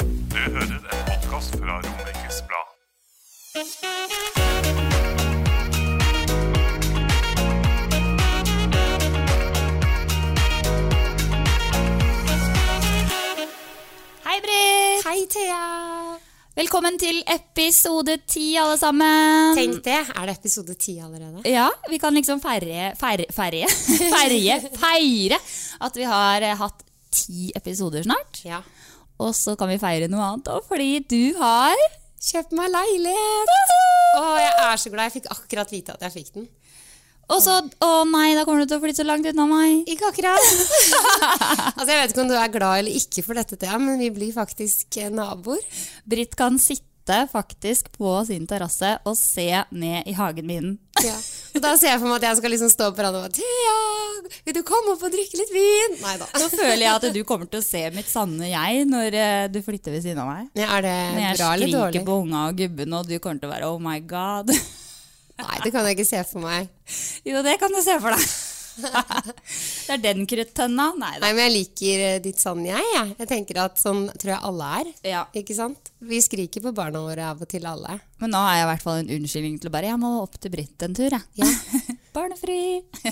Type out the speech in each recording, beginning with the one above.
Du hører en podkast fra Romerikes Blad. Hei, Britt! Hei, Thea. Velkommen til episode ti, alle sammen. Tenk det. Er det episode ti allerede? Ja, vi kan liksom feire Feire, feire, feire, feire at vi har eh, hatt ti episoder snart. Ja. Og så kan vi feire noe annet òg, fordi du har Kjøp meg leilighet! Å, jeg er så glad. Jeg fikk akkurat vite at jeg fikk den. Og så Å nei, da kommer du til å flytte så langt unna meg. Ikke akkurat. altså, Jeg vet ikke om du er glad eller ikke for dette, Thea, men vi blir faktisk eh, naboer. Britt kan sitte faktisk på sin terrasse og se ned i hagen min. Ja. Og da ser jeg for meg at jeg skal liksom stå på randen og bare Thea, vil du komme opp og drikke litt vin? Nei da. Nå føler jeg at du kommer til å se mitt sanne jeg når eh, du flytter ved siden av meg. Ja, er det Når jeg bra eller skriker dårlig? på unga og gubben, og du kommer til å være 'oh my god'. Nei, det kan jeg ikke se for meg. Jo, det kan du se for deg. det er den kruttønna. Nei da. Nei, men jeg liker eh, ditt sann jeg. Jeg Jeg tenker at sånn tror jeg alle er. Ja. Ikke sant? Vi skriker på barna våre av og til, alle. Men nå har jeg i hvert fall en unnskyldning til å bare 'jeg må opp til Britt en tur', jeg. Barnefri.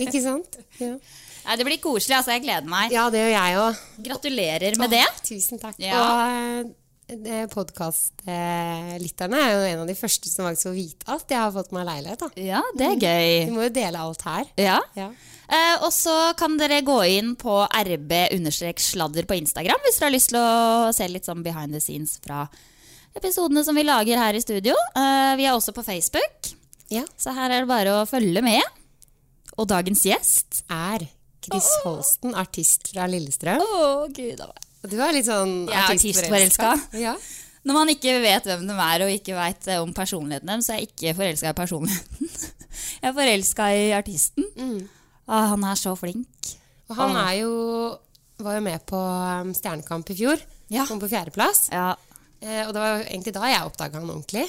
Ikke sant? Ja, Nei, det blir koselig. altså. Jeg gleder meg. ja det gjør jeg òg. Gratulerer med det. Tusen takk. Ja. Og podkastlytterne er jo en av de første som faktisk får vite at jeg har fått meg leilighet. da. Ja, det er Vi gøy. må jo dele alt her. Mm. Ja. Ja. Eh, og så kan dere gå inn på rb-sladder på Instagram hvis dere har lyst til å se litt sånn behind the scenes fra episodene som vi lager her i studio. Eh, vi er også på Facebook. Ja. Så her er det bare å følge med. Og dagens gjest Er Chris Holsten artist fra Lillestrøm? Å, gud a meg. Og du er litt sånn Jeg er artistforelska. artistforelska. Ja. Når man ikke vet hvem de er, og ikke veit om personligheten deres, så er jeg ikke forelska i personligheten. Jeg er forelska i artisten. Ah, han er så flink. Og han er jo, var jo med på um, Stjernekamp i fjor. Ja. Kom på fjerdeplass. Ja, Eh, og det var jo egentlig da jeg oppdaga han ordentlig.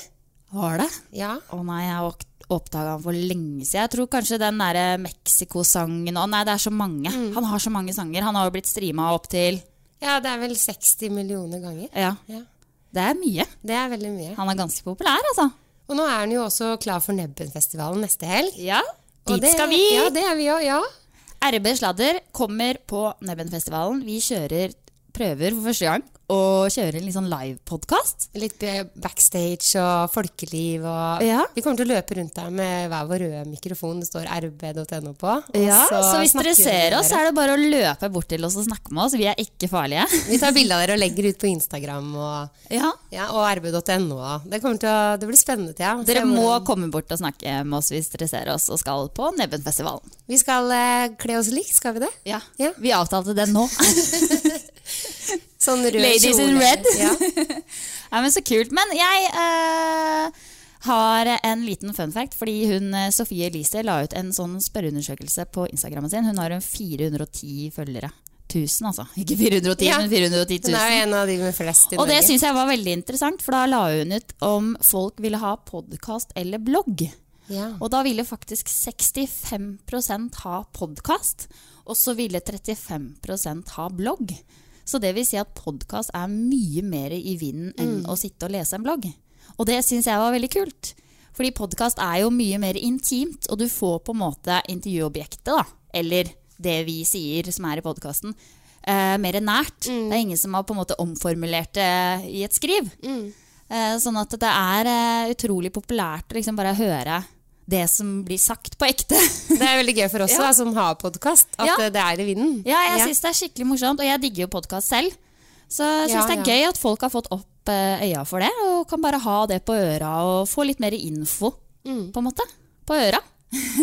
Var det? Ja. Å nei, jeg oppdaga han for lenge siden. Jeg tror kanskje den derre Mexico-sangen Å nei, det er så mange. Han har så mange sanger. Han har jo blitt streama opp til ja, det er vel 60 millioner ganger. Ja, Ja. det er mye. Det er veldig mye. Han er ganske populær, altså. Og nå er han jo også klar for Nebbenfestivalen neste helg. Ja, Og Dit det- skal vi! Ja, det er vi òg. Ja. RB Sladder kommer på Nebbenfestivalen. Vi kjører prøver for første gang og kjører en litt sånn live-podkast. Litt be- backstage og folkeliv og Ja. Vi kommer til å løpe rundt der med hver vår røde mikrofon. Det står rb.no på. og så, hvis snakker dere vi ser med oss, så dere. er det bare å løpe bort til oss og snakke med oss. Vi er ikke farlige. Vi tar bilde av dere og legger ut på Instagram og, Ja. ja, og rb.no. Det, kommer til å, det blir spennende. Ja. Se Dere må hvordan- komme bort og snakke med oss hvis dere ser oss og skal på Nebbenfestivalen. Vi skal eh, kle oss likt, skal vi det? Ja. Ja. Vi avtalte det nå. Sånn rød Ladies in kjole. red. Ja. Ja, men Så kult. Men jeg eh, har en liten fun fact. Fordi hun, eh, Sofie Elise la ut en sånn spørreundersøkelse på Instagrammen sin. Hun har en 410 følgere. 1000, altså. Ikke 410, Ja. men 410 Hun er 000. jo en av de med flest i Og det Norge. syns jeg var veldig interessant, for da la hun ut om folk ville ha podkast eller blogg. Ja. Og da ville faktisk 65 ha podkast, og så ville 35 ha blogg. Så det vil si at podkast er mye mer i vinden enn å sitte og lese en blogg. Og det syns jeg var veldig kult. Fordi podkast er jo mye mer intimt, og du får på en måte intervjuobjektet, da. Eller det vi sier som er i podkasten, eh, mer nært. Det er ingen som har på en måte omformulert det i et skriv. Eh, sånn at det er eh, utrolig populært å liksom bare høre det som blir sagt på ekte. Det er veldig gøy for oss da, som har podkast, at Ja. eh, det er i vinden. ja, jeg synes syns det er skikkelig morsomt, og jeg digger jo podkast selv. Så jeg syns Ja, det er gøy at folk har fått opp eh, øya for det, og kan bare ha det på øra og få litt mer info, på en måte. På øra.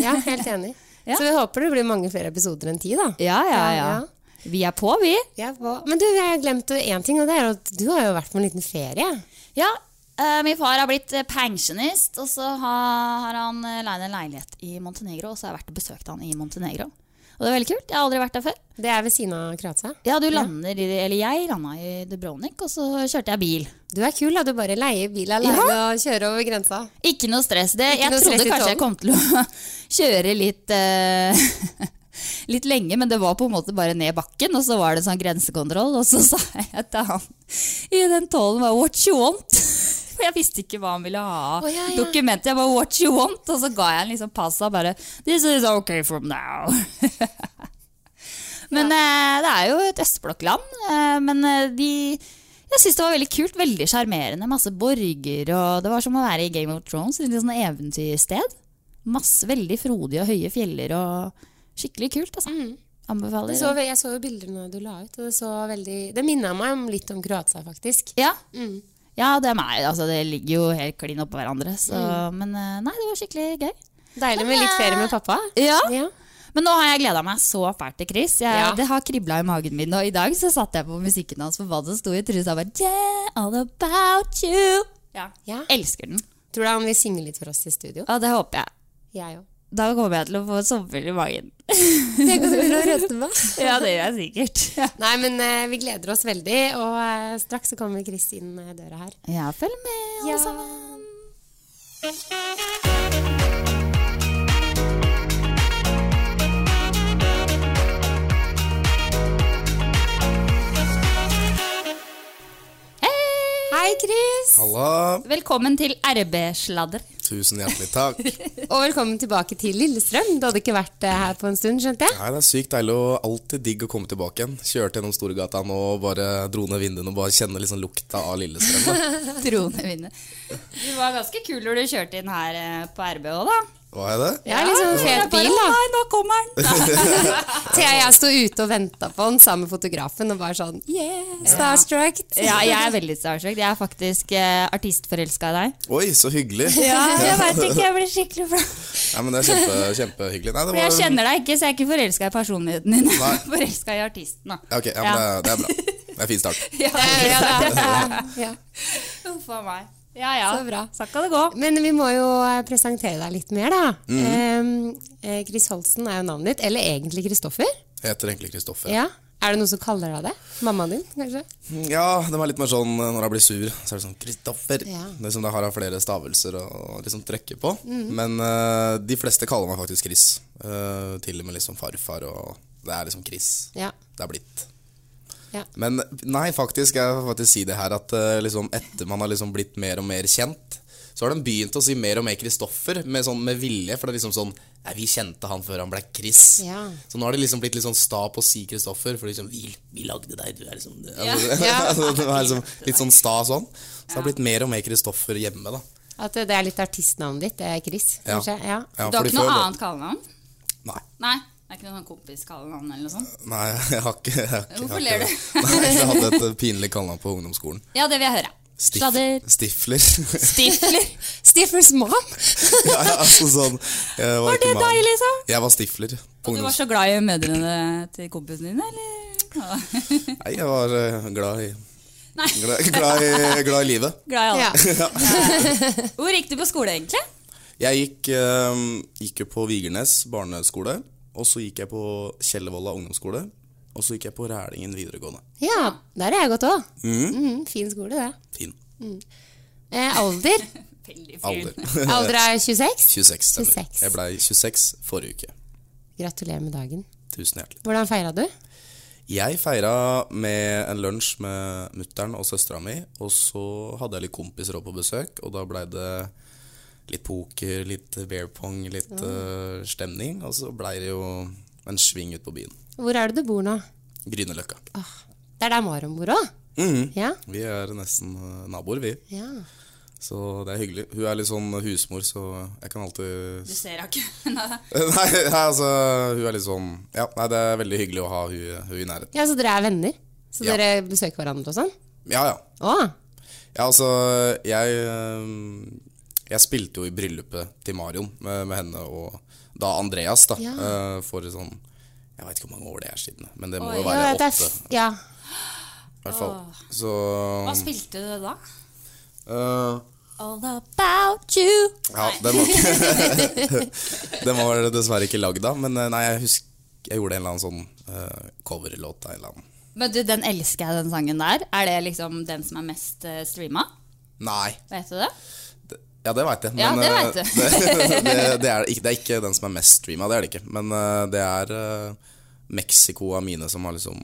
Ja, helt enig. Ja. Så vi håper det blir mange flere episoder enn ti, da. Ja, ja, ja. Ja, ja. Vi er på, vi. Vi er på. Men du, jeg har glemt én ting, og det er at du har jo vært på en liten ferie. Ja, eh, min far har blitt eh, pensjonist, og så har, har han eh, leid en leilighet i Montenegro, og så har jeg vært og besøkt han i Montenegro. Og det er veldig kult. Jeg har aldri vært der før. Det er ved siden av Kroatia. Ja, du lander i, eller jeg landa i Dubrovnik, og så kjørte jeg bil. Du er kul, da. Du bare leier bil alene og kjører over grensa. Ikke noe stress. Det, Ikke jeg noe trodde stress i kanskje jeg kom til å kjøre litt eh, Litt lenge, men det var på en måte bare ned bakken, og så var det sånn grensekontroll. Og så sa jeg til han i den tollen bare 'what you want'? For jeg visste ikke hva han ville ha av Å, ja, ja. dokumentet. Jeg bare 'what you want', og så ga jeg han liksom passet og bare 'this is okay from now'. Men eh, det er jo et østblokkland. eh, men eh, de Jeg syns det var veldig kult. Veldig sjarmerende. Masse borger. Og det var som å være i Game of Thrones. Et litt sånn eventyrsted. Masse veldig frodige og høye fjeller og Skikkelig kult, altså. Anbefaler. Mm. Det så, jeg så jo bildene du la ut, og det så veldig Det minna meg om, litt om Kroatia, faktisk. Ja. Mm. Ja, det er meg. Altså, det ligger jo helt klin oppå hverandre. Så, Mm. Men eh, nei, det var skikkelig gøy. Deilig med litt ferie med pappa. Ja. Ja. Men nå har jeg gleda meg så fælt til Chris. Jeg, Ja. Det har kribla i magen min. Og i dag så satt jeg på musikken hans for hva som sto i trusa. og Bare, yeah, all about you. Ja. Ja. Elsker den. Tror du han vil synge litt for oss i studio? Og det håper jeg. Jeg òg. Da kommer jeg til å få sommerfugl i magen. Tenk at du begynner å rødme meg. Ja, det gjør jeg sikkert. Nei, men eh, vi gleder oss veldig, og eh, straks så kommer Chris inn eh, døra her. Ja, følg med, alle Ja. sammen. Hei! Hei, Chris! Halla! Velkommen til RB-sladder. Tusen hjertelig takk. Nei, Og velkommen tilbake til Lillestrøm. Du hadde ikke vært eh, her på en stund, skjønte jeg? det er sykt deilig og alltid digg å komme tilbake igjen. Kjørte gjennom Storgata nå og bare dro ned vinduene og bare kjenne liksom lukta av Lillestrøm. da. Tronevinner. Du var ganske kul når du kjørte inn her eh, på RB òg, da. Var jeg det? Ja, litt sånn fet bil, da. Nei, nå kommer den! Thea og jeg sto ute og venta på han sammen med fotografen og bare sånn Yeah, starstruck. ja, jeg er veldig starstruck. Jeg er faktisk eh, artistforelska i deg. Oi, så hyggelig. jeg veit ikke, jeg blir skikkelig flau. Nei, men Det er kjempe, kjempehyggelig. Nei, det Jeg var kjenner deg ikke, så jeg er ikke forelska i personligheten din. Nei. forelska i artisten, da. Ja, Ok, ja, men det, er- det er bra. Det er en fin start. Ja, Ja, det er bra. Ja. Huff a meg. Ja ja. Så bra. Sånn kan det gå. Men vi må jo eh, presentere deg litt mer, da. Eh, eh, Chris Holsten er jo navnet ditt. Eller egentlig Kristoffer. Heter egentlig Kristoffer. Ja. Er det noen som kaller deg det? Mammaen din, kanskje? Ja, det var litt mer sånn eh, når jeg blir sur, så er det sånn 'Kristoffer'. Ja. Det er som det har av flere stavelser å liksom trekke på. Mhm. Men eh, de fleste kaller meg faktisk Chris. Eh, til og med liksom farfar og Det er liksom Chris. Ja. Det er blitt. Ja. Men nei, faktisk, jeg får faktisk si det her at eh, liksom, etter man har liksom blitt mer og mer kjent, så har de begynt å si mer og mer Kristoffer med, sånn, med vilje. For det er liksom sånn Nei, vi kjente han før han ble Chris. Ja. Så nå har de liksom blitt litt sånn sta på å si Kristoffer, for liksom vi, vi lagde deg, du er liksom det. Altså, altså, det var liksom Litt sånn sta sånn. Så det har blitt mer og mer Kristoffer hjemme, da. At eh, det er litt artistnavnet ditt, det er Chris, Ja. kanskje? Ja. Ja, du har fordi ikke noe før- annet kallenavn? Nei, Nei? Det er ikke noe sånn kompiskallenavn eller noe sånt? nei, jeg har ikke, jeg har ikke Hvorfor jeg har ler ikke- Nei, jeg hadde et eh, pinlig kallenavn på ungdomsskolen. Ja, det vil jeg høre. Stif- Sladder. Stifler. Stifler. Stiffers mom! ja, ja, altså sånn jeg Var, ikke det mann. deg, liksom? Jeg var stifler. På Du var ungdoms... så glad i mødrene til kompisene dine, eller? Nei, jeg var eh, glad i Nei. Glad, glad, i, glad i livet. Glad i alle. Ja. Hvor gikk du på skole, egentlig? Jeg gikk, eh, gikk jo på Vigernes barneskole, og så gikk jeg på Kjellevolla ungdomsskole, og så gikk jeg på Rælingen videregående. ja. Der har jeg gått òg. Mm, fin skole, det. Fin Eh, alder? alder. Alder er 26. 26, stemmer. 26. Jeg blei 26 forrige uke. Gratulerer med dagen. Tusen hjertelig. Hvordan feira du? Jeg feira med en lunsj med mutter'n og søstera mi, og så hadde jeg litt kompiser også på besøk, og da blei det litt poker, litt bear pong, litt eh, stemning, og så blei det jo en sving ut på byen. Hvor er det du bor nå? Grünerløkka. Mhm. Det er der Maron bor òg? Ja. Vi er nesten eh, naboer, vi, ja. så det er hyggelig. Hun er litt sånn husmor, så jeg kan alltid Du ser henne ikke. Nei. Nei, altså, hun er litt sånn Ja, nei, det er veldig hyggelig å ha hun, hun i nærheten. Ja, Så dere er venner? Så Ja. dere besøker hverandre og sånn? Ja, ja. Å! Ja, altså, jeg, øhm, jeg spilte jo i bryllupet til Marion med, med henne og da Andreas, da, Ja. øh, for sånn Jeg veit ikke hvor mange år det er siden, men det må Oi. jo Ja, være det er åtte. f- ja. I hvert fall. Så Hva spilte du da? eh, All about you. Ja, den var, den var dessverre ikke lagd da, men eh, nei, jeg husker jeg gjorde en eller annen sånn eh, coverlåt av en eller annen Men du, den elsker jeg, den sangen der. Er det liksom den som er mest eh, streama? Nei. Vet du det? Ja, det veit jeg. Ja, det eh, vet du. det, det, det, er, ikke- det er ikke den som er mest streama, det er det ikke. Men eh, det er eh, Mexico av mine som har liksom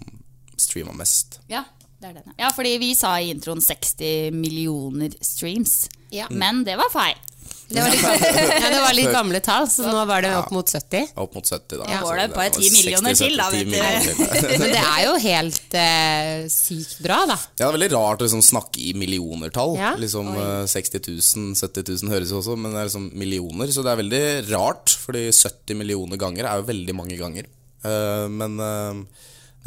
streama mest. Ja, det er den. Ja, fordi vi sa i introen 60 millioner streams. Ja. Men det var feil. Det var, litt, ja, det var litt gamle tall, så nå var det opp mot 70. Opp mot 70, da. Ja, Så går det på var 10 millioner 60, til, da, 70 vet du. millioner til. Men det er jo helt eh, sykt bra, da. Ja, det er veldig rart å liksom snakke i millionertall. Ja. Liksom eh, 60 000, 70 000 høres jo også, men det er liksom millioner. Så det er veldig rart, fordi 70 millioner ganger er jo veldig mange ganger. Eh, men eh,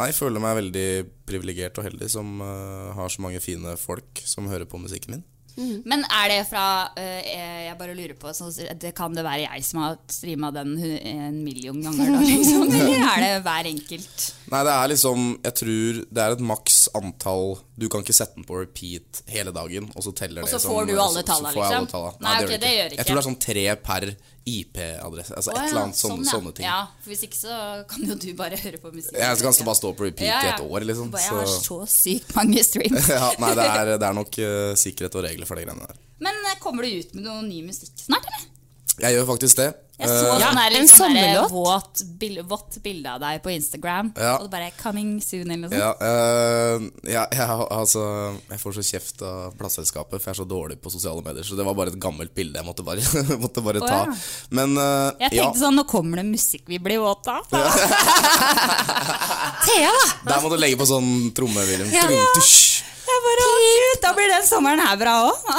nei, jeg føler meg veldig privilegert og heldig som eh, har så mange fine folk som hører på musikken min. Men er det fra eh, Jeg bare lurer på så det Kan det være jeg som har streama den hu- en million ganger, da? Liksom? Eller er det hver enkelt? Nei, det er liksom Jeg tror det er et maks antall Du kan ikke sette den på repeat hele dagen, og så teller Og det så som- får du alle tallene, så får jeg alle liksom? tallene. Nei, ok, det gjør ikke. ikke. Jeg tror det er sånn tre per IP-adresse. Altså Å, et ja, sånn, eller annet sånne, ja. sånne ting. Ja, for Hvis ikke så kan jo du bare høre på musikk. Jeg kan bare stå på repeat i et år, liksom. Bare, Jeg har Så. så sykt mange streams. Ja, nei, det er, det er nok eh, sikkerhet og regler for de greiene der. Men eh, kommer du ut med noe ny musikk snart, eller? Jeg gjør faktisk det. Jeg så Eh, sånn der, en litt sånn der sommerlåt. våt, bil, vått bilde av deg på Instagram, Ja. og det bare er 'coming soon' eller noe sånt. ja, eh, ja, jeg, har- altså, jeg får så kjeft av plateselskapet, for jeg er så dårlig på sosiale medier. Så det var bare et gammelt bilde jeg måtte bare, måtte bare ta. ja. Men eh, Jeg ja, tenkte sånn, nå kommer det musikk vi blir våte av. Thea, da! der må du legge på sånn tromme, William. Ja. Trum, tusj. Jeg bare, å, Gud, da blir den sommeren her bra òg.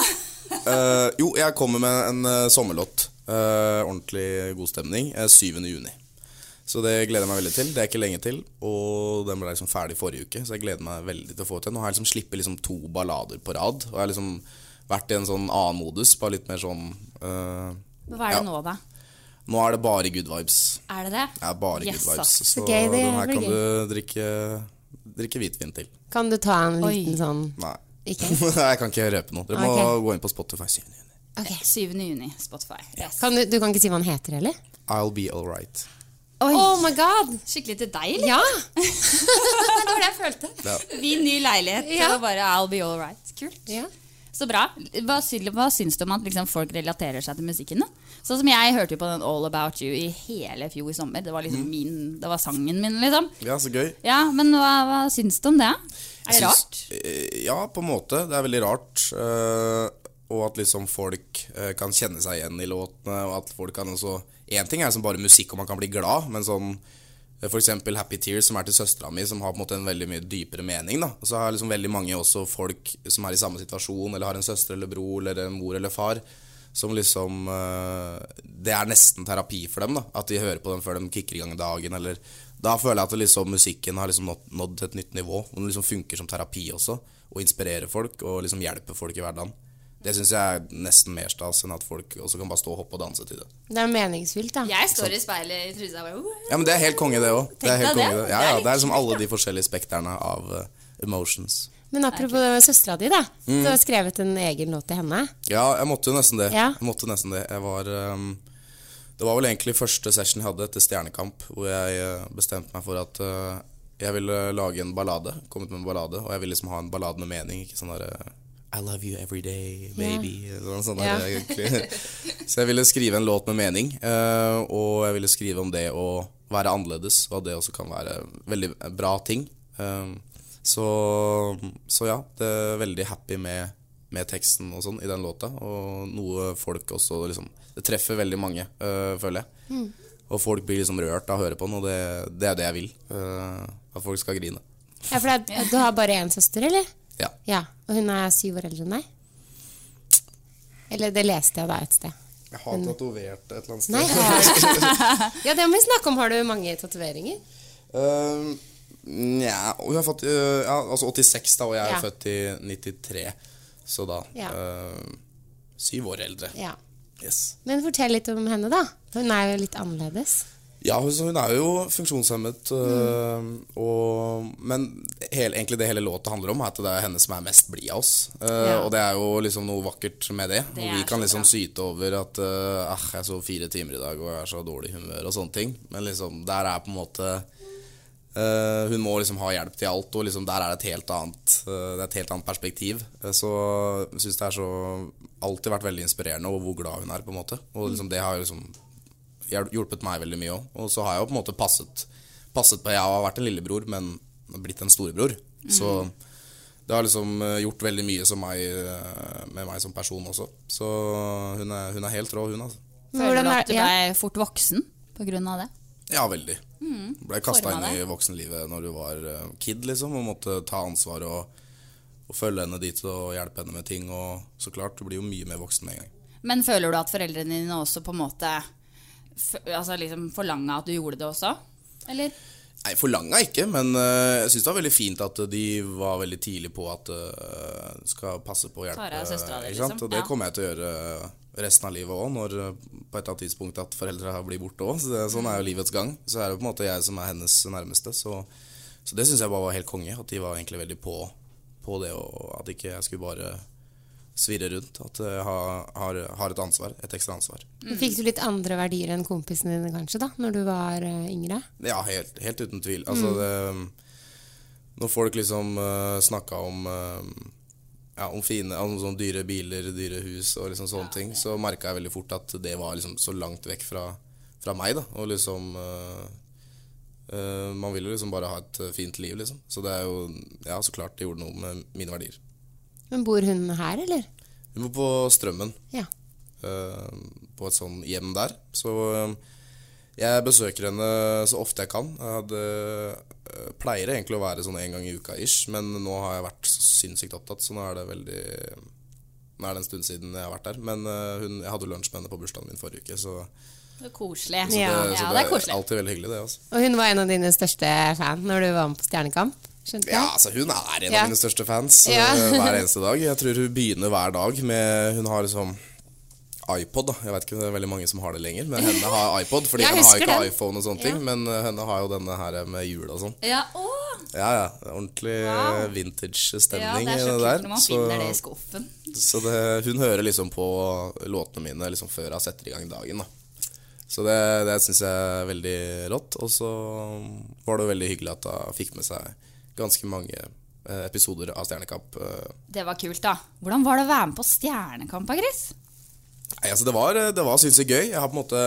Eh, jo, jeg kommer med en eh, sommerlåt. Eh, ordentlig god stemning. eh, 7. juni. Så det gleder jeg meg veldig til. Det er ikke lenge til. Og den ble liksom ferdig forrige uke, så jeg gleder meg veldig til å få til. Nå har jeg liksom slippet liksom to ballader på rad, og jeg har liksom vært i en sånn annen modus. Bare litt mer sånn eh, Hva er det Ja. nå, da? Nå er det bare good vibes. Er det det? Det er bare Yes, altså. good vibes. ass. Så gøy, det den her blir kan gøy. du drikke, drikke hvitvin til. Kan du ta en liten Oi. sånn Nei. Ikke? jeg kan ikke røpe noe. Dere må Ok. gå inn på Spotify 7. juni. 7. juni, Spotify. Yes. kan du, du kan ikke si hva han heter heller? I'll be alright. Oi. Oh my god! Skikkelig til deg, eller? Ja! Det var det jeg følte. Ja. Vi ny leilighet, Ja. og bare I'll be all right. Kult. ja. Så bra. Hva, sy- hva syns du om at liksom, folk relaterer seg til musikken? da? Sånn som jeg hørte jo på den All About You i hele fjor sommer. Det var Mm. liksom min, det var sangen min, liksom. Ja, så gøy. Ja, Men hva, hva syns du om det? Er det Jeg rart? syns- eh, Ja, på en måte. Det er veldig rart. eh, og at liksom folk eh, kan kjenne seg igjen i låtene. Og at folk kan også Én ting er liksom bare musikk og man kan bli glad, men sånn eh, for eksempel Happy Tears, som er til søstera mi, som har på en måte en veldig mye dypere mening. da Og så har liksom veldig mange også folk som er i samme situasjon, eller har en søster eller bror eller en mor eller far, som liksom eh, Det er nesten terapi for dem, da at de hører på dem før de kicker i gang dagen, eller Da føler jeg at det liksom, musikken har liksom nådd, nådd et nytt nivå, og den liksom funker som terapi også, og inspirerer folk, og liksom hjelper folk i hverdagen. Det syns jeg er nesten mer stas enn at folk også kan bare stå og hoppe og danse til det. Det er meningsfylt, da. Jeg står i speilet i trusa og bare «Wow». Ja, men det er helt konge, det òg. Det er Tenk helt deg det. konge, det. Ja, Det er ja, litt det er liksom alle de forskjellige spekterne av eh, emotions. Men apropos det med søstera di, da. Du har skrevet en egen låt til henne. Ja, jeg måtte jo nesten det. Ja. Jeg måtte nesten det. Jeg var ehm, Det var vel egentlig første session jeg hadde etter Stjernekamp, hvor jeg eh, bestemte meg for at eh, jeg ville lage en ballade. Komme ut med en ballade, og jeg ville liksom ha en ballade med mening. Ikke sånn derre I love you every day, baby. Sånn, sånn der, egentlig. Så jeg ville skrive en låt med mening, eh, og jeg ville skrive om det å være annerledes, og at det også kan være veldig bra ting. Eh, så, så ja, det er veldig happy med, med teksten og sånn i den låta, og noe folk også liksom Det treffer veldig mange, eh, føler jeg. Mm. Og folk blir liksom rørt av å høre på den, og det, det er det jeg vil. eh, at folk skal grine. Ja, for det, er- du har bare én søster, eller? Ja. Ja, Og hun er syv år eldre enn deg? Eller det leste jeg da et sted. Jeg har tatovert et eller annet Nei, har du? Ja, det må vi snakke om. Har du mange tatoveringer? Uh, Nja og hun er født, eh, ja, Altså 86, da, og jeg er Ja. født i 93. Så da Ja. eh, Syv år eldre. Ja. Yes. Men fortell litt om henne, da. Hun er jo litt annerledes. Ja, hun, så hun er jo funksjonshemmet. Mm. øh, og, men hele, egentlig det hele låta handler om, er at det er henne som er mest blid av oss. Øh, Og det er jo liksom noe vakkert med det. Det og vi er så kan liksom bra. syte over at øh, ah, jeg sov fire timer i dag og jeg er så dårlig i humør og sånne ting. Men liksom, der er på en måte øh, Hun må liksom ha hjelp til alt, og liksom der er det et helt annet, øh, det er et helt annet perspektiv. Eh, Så jeg syns det er så alltid vært veldig inspirerende og hvor glad hun er, på en måte. Og liksom, det har jo liksom hjel- hjulpet meg veldig mye òg. Og så har jeg jo på en måte passet, passet på Jeg har vært en lillebror, men blitt en storebror. Så det har liksom eh, gjort veldig mye som meg, eh, med meg som person også. Så hun er, hun er helt rå, hun, altså. Føler Hvordan du er- at du ja. ble fort voksen pga. det? Ja, veldig. Ble kasta Forma inn i deg. voksenlivet når du var eh, kid, liksom, og måtte ta ansvar og, og følge henne dit og hjelpe henne med ting. Og så klart, du blir jo mye mer voksen med en gang. Men føler du at foreldrene dine også på en måte f- altså liksom forlanga at du gjorde det også? Eller? Nei, forlanga ikke, men eh, jeg syns det var veldig fint at de var veldig tidlig på at eh, du skal passe på å hjelpe. Ta deg av søstera di, ikke sant? liksom. Og det Ja. kommer jeg til å gjøre eh, resten av livet òg, når eh, på et eller annet tidspunkt at foreldra blir borte òg. Så det- sånn er jo Mm. livets gang. Så er det på en måte jeg som er hennes nærmeste. Så, så det syns jeg bare var helt konge, at de var egentlig veldig på, på det, og at ikke jeg skulle bare svirre rundt. At jeg har, har, har et ansvar, et ekstra ansvar. Fikk du litt andre verdier enn kompisene dine kanskje da, når du var eh, yngre? Ja, helt, helt uten tvil. Altså, det, når folk liksom uh, snakka om eh, ja, om fine, om sånn dyre biler, dyre hus og liksom sånne ting, så merka jeg veldig fort at det var liksom så langt vekk fra, fra meg. da Og liksom eh, eh, Man vil jo liksom bare ha et eh, fint liv, liksom. Så det er jo Ja, så klart det gjorde noe med mine verdier. Men bor hun her, eller? Vi bor på Strømmen. Ja. eh, på et sånn hjem der. Så eh, jeg besøker henne så ofte jeg kan. Jeg hadde, eh, pleier egentlig å være sånn en gang i uka ish, men nå har jeg vært så sinnssykt opptatt, så nå er det veldig Nå er det en stund siden jeg har vært der. Men eh, hun, jeg hadde lunsj med henne på bursdagen min forrige uke, så, Det er koselig. så, ja. det, så det er koselig. alltid veldig hyggelig, det. Altså. Og hun var en av dine største fan når du var med på Stjernekamp, skjønte jeg? Ja, altså Hun er en Ja. av mine største fans eh, Ja. hver eneste dag. Jeg tror hun begynner hver dag med Hun har liksom iPod. da Jeg vet ikke om det er veldig mange som har det lenger, men henne har iPod. Fordi Jeg henne har husker ikke den. iPhone og sånne ting, men eh, henne har jo denne her med jul og sånn. Ja, åh, Ja, ja. Ordentlig eh, ja, vintage-stemning det er så i det kult når der. man Så, finner det i skuffen. så det, hun hører liksom på låtene mine liksom før jeg setter i gang dagen. da Så det, det syns jeg er veldig rått. Og så var det jo veldig hyggelig at hun fikk med seg ganske mange eh, episoder av Stjernekamp. eh, Det var kult, da. Hvordan var det å være med på Stjernekamp, Chris? Nei, altså det var, det var sinnssykt gøy. Jeg har på en måte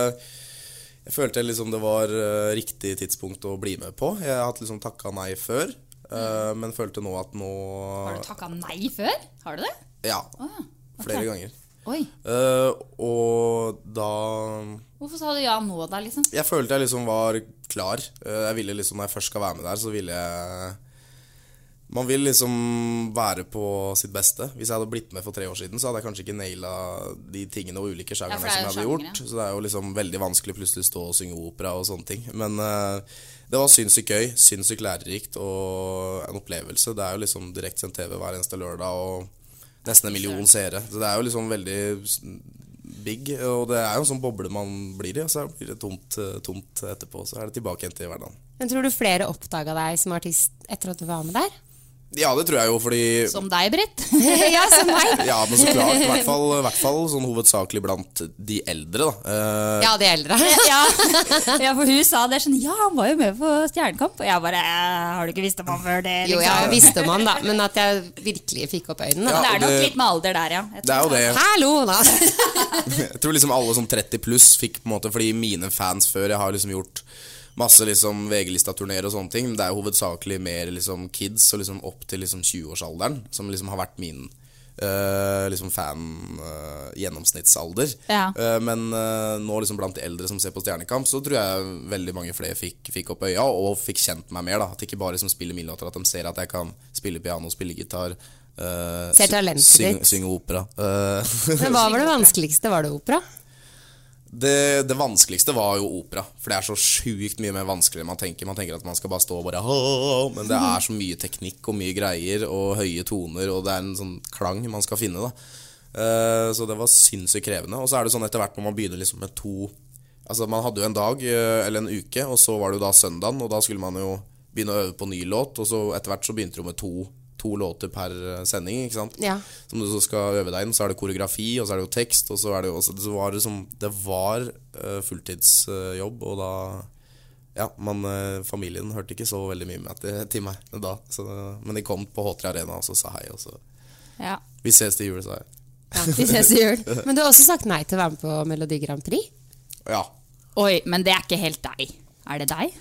Jeg følte liksom det var eh, riktig tidspunkt å bli med på. Jeg har hatt liksom takka nei før, eh, men følte nå at nå Har du takka nei før? Har du det? Ja. Åh, ok. Flere ganger. Oi. Eh, og da Hvorfor sa du ja nå, da, liksom? Jeg følte jeg liksom var klar. Eh, Jeg ville liksom, Når jeg først skal være med der, så ville jeg Man vil liksom være på sitt beste. Hvis jeg hadde blitt med for tre år siden, så hadde jeg kanskje ikke naila de tingene og ulike Ja, sjangerne for det er som jo jeg hadde sjangere. gjort. Så det er jo liksom veldig vanskelig plutselig stå og synge opera og sånne ting. Men eh, det var sinnssykt gøy, sinnssykt lærerikt og en opplevelse. Det er jo liksom direktsendt TV hver eneste lørdag og nesten en million seere. Så det er jo liksom veldig s- big, og det er jo en sånn boble man blir i, og så blir det tomt, eh, tomt etterpå. Så er det tilbake igjen til hverdagen. Men tror du flere oppdaga deg som artist etter at du var med der? Ja, det tror jeg jo, fordi Som deg, Britt. ja, som meg! Ja, men så klart. I hvert fall, i hvert fall sånn hovedsakelig blant de eldre, da. Eh, Ja, de eldre. ja. ja, for hun sa det sånn Ja, han var jo med på Stjernekamp. Og jeg bare «Eh, Har du ikke visst om han før det? Jo, liksom?» jeg visste om han da, men at jeg virkelig fikk opp øynene. da. Ja, det er og nok det- litt med alder der, ja. Jeg Det er jo tror det. Hallo, da! Jeg tror liksom alle som 30 pluss fikk på en måte Fordi mine fans før Jeg har liksom gjort masse liksom VG-lista-turnéer og sånne ting. Men det er jo hovedsakelig mer liksom kids og liksom opp til liksom 20-årsalderen som liksom har vært min eh, liksom fan-gjennomsnittsalder. Ja. men eh, nå liksom blant de eldre som ser på Stjernekamp, så tror jeg veldig mange flere fikk, fikk opp øya og fikk kjent meg mer. da At de ikke bare liksom spiller mine låter, at de ser at jeg kan spille piano, spille gitar. eh, Ser sy- talentet syng- ditt. Synge opera. eh. Men hva var det vanskeligste? Var det opera? Det, det vanskeligste var jo opera, for det er så sjukt mye mer vanskelig enn man tenker. Man tenker at man skal bare stå og bare «Åh», Men det er så mye teknikk og mye greier og høye toner, og det er en sånn klang man skal finne, da. Eh, Så det var sinnssykt krevende. Og så er det sånn etter hvert når man begynner liksom med to Altså Man hadde jo en dag eh, eller en uke, og så var det jo da søndagen, og da skulle man jo begynne å øve på ny låt, og så etter hvert så begynte du med to, to låter per eh, sending, ikke sant. Ja. Som du så skal øve deg inn. Så er det koreografi, og så er det jo tekst, og så er det jo også Det var liksom Det var eh, fulltidsjobb, og da ja, men eh, familien hørte ikke så veldig mye med til, til meg da. Så, det- men de kom på H3 Arena og så sa hei. Og så, Ja. vi ses til jul, sa jeg. Ja, vi ses i jul. Men du har også sagt nei til å være med på Melodi Grand Prix. Ja. Oi, men det er ikke helt deg. Er det deg?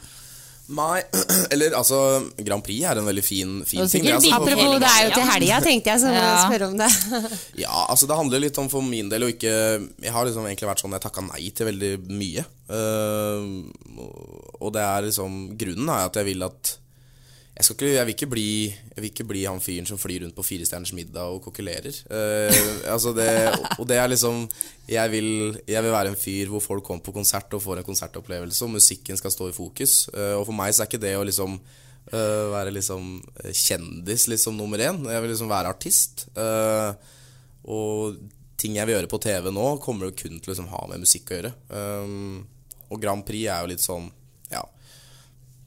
Nei, eller altså Grand Prix er en veldig fin, fin Og ting. sikkert altså, for- Apropos, det er jo til helga, tenkte jeg, så må jeg Ja. spørre om det. Ja, altså det handler litt om for min del å ikke Jeg har liksom egentlig vært sånn jeg takka nei til veldig mye. Eh, og- og det er liksom Grunnen er at jeg vil at jeg, skal ikke, jeg, vil ikke bli, jeg vil ikke bli han fyren som flyr rundt på Firestjerners middag og kokulerer. Eh, altså det, og det er liksom jeg vil, jeg vil være en fyr hvor folk kommer på konsert og får en konsertopplevelse, og musikken skal stå i fokus. Eh, og for meg så er ikke det å liksom eh, være liksom eh, kjendis liksom nummer én. Jeg vil liksom være artist. Eh, og ting jeg vil gjøre på TV nå, kommer jo kun til å liksom ha med musikk å gjøre. Um, og Grand Prix er jo litt sånn Ja.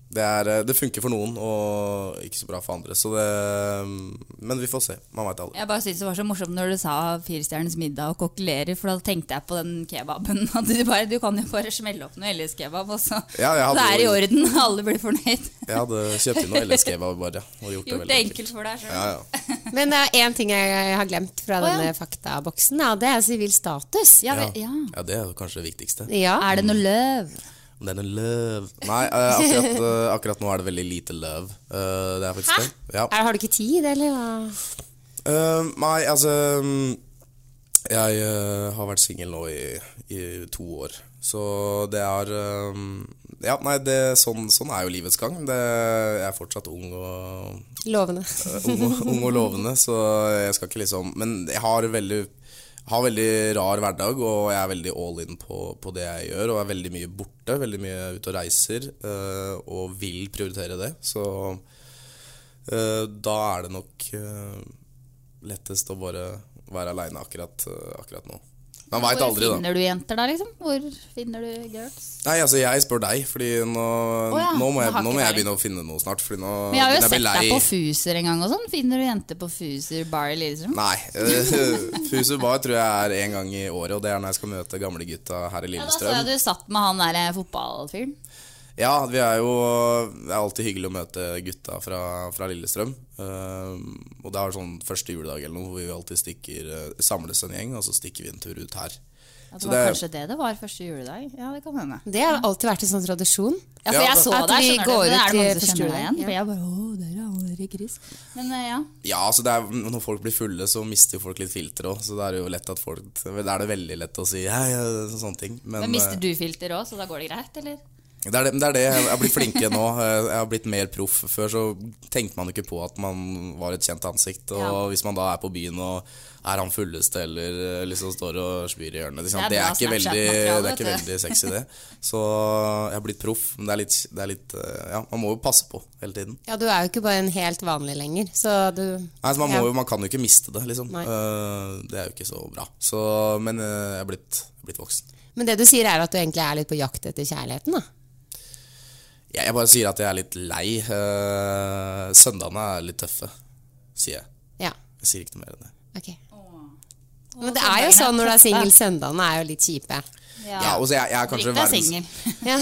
Det, er, eh, det funker for noen, og ikke så bra for andre. Så det Men vi får se. Man veit aldri. Jeg bare synes det var så morsomt når du sa firestjerners middag og kokkelerer, for da tenkte jeg på den kebaben. At du, bare, du kan jo bare smelle opp noe LS-kebab, og så Ja, jeg hadde det er i jo- orden. Alle blir fornøyd. Jeg hadde kjøpt inn noe LSG-kebab bare. Og gjort, Gjort det det veldig enkelt for deg sjøl. Ja, ja. Men det er én ting jeg har glemt Å, fra ja. denne faktaboksen, ja, det er sivil status. Ja, Ja. vel, ja. ja, det er jo kanskje det viktigste. Ja. Er det noe løv? Om det er noe løv Nei, eh, akkurat, eh, akkurat nå er det veldig lite løv. Eh, det er faktisk det. Ja. Er, har du ikke tid, eller? hva? Eh, nei, altså mm, Jeg eh, har vært singel nå i, i to år. Så det er eh, Ja, nei, det, sånn, sånn er jo livets gang. Det, jeg er fortsatt ung og, Lovende. ung, og- ung og lovende, Eh, så jeg skal ikke liksom Men jeg har veldig har veldig rar hverdag, og jeg er veldig all in på, på det jeg gjør. Og er veldig mye borte, veldig mye ute og reiser, eh, og vil prioritere det. Så eh, da er det nok eh, lettest å bare være aleine akkurat, eh, akkurat nå. Man veit Hvor aldri, da. finner du jenter da, liksom? Hvor finner du girls? Nei, altså Jeg spør deg, Fordi nå, ja, nå må, nå jeg, har ikke nå må jeg peiling. begynne å finne noe snart. Fordi nå Men jeg har jo begynner sett jeg å bli deg lei. på Fuser en gang og sånn. Finner du jenter på Fuser bar i Lillestrøm? Nei. eh, Fusu Bar tror jeg er én gang i året, og det er når jeg skal møte gamlegutta Ja, da her i så Lillestrøm. jeg du satt med han der eh, fotballfyren. Ja, vi er jo Det er alltid hyggelig å møte gutta fra, fra Lillestrøm. Eh, og det er sånn første juledag eller noe hvor vi alltid stikker, eh, samles en gjeng, og så stikker vi en tur ut her. Ja, Så det var det- kanskje det det var første juledag. Ja, det kan hende. Det har alltid vært en sånn tradisjon. Ja, for Ja, jeg da- så At deg, vi skjønner du. går Men ut er det i noen som første kjenner deg juledag, igjen? ja. For jeg bare Å, dere er allerede gris. Men eh, ja. Ja, altså det er, Når folk blir fulle, så mister jo folk litt filter òg, så det er jo lett at folk Da er det veldig lett å si ja, ja, sånne ting. Men, Men eh, mister du filter òg, så da går det greit, eller? Det er det, men det er det. Jeg har blitt flinkere nå. Jeg har blitt mer proff. Før så tenkte man ikke på at man var et kjent ansikt. Og Ja. hvis man da er på byen og er han fulleste eller liksom står og spyr i hjørnet liksom. Det er det, er bra ikke veldig, Snapchat-materiale, det er ikke vet du. veldig sexy, det. Så jeg har blitt proff, men det er litt, det er litt eh, Ja, man må jo passe på hele tiden. Ja, du er jo ikke bare en helt vanlig lenger, så du Nei, så man, må, Ja. jo- man kan jo ikke miste det, liksom. Nei. Eh, Det er jo ikke så bra. Så, men eh, jeg er blitt, jeg er blitt voksen. Men det du sier, er at du egentlig er litt på jakt etter kjærligheten, da. Jeg, jeg bare sier at jeg er litt lei. Eh, Søndagene er litt tøffe, sier jeg. Ja, Jeg sier ikke noe mer enn det. ok. Men det er jo sånn når du er singel, søndagene er jo litt kjipe. Ja, og så jeg, jeg er kanskje Drikk deg verdens singel. Ja.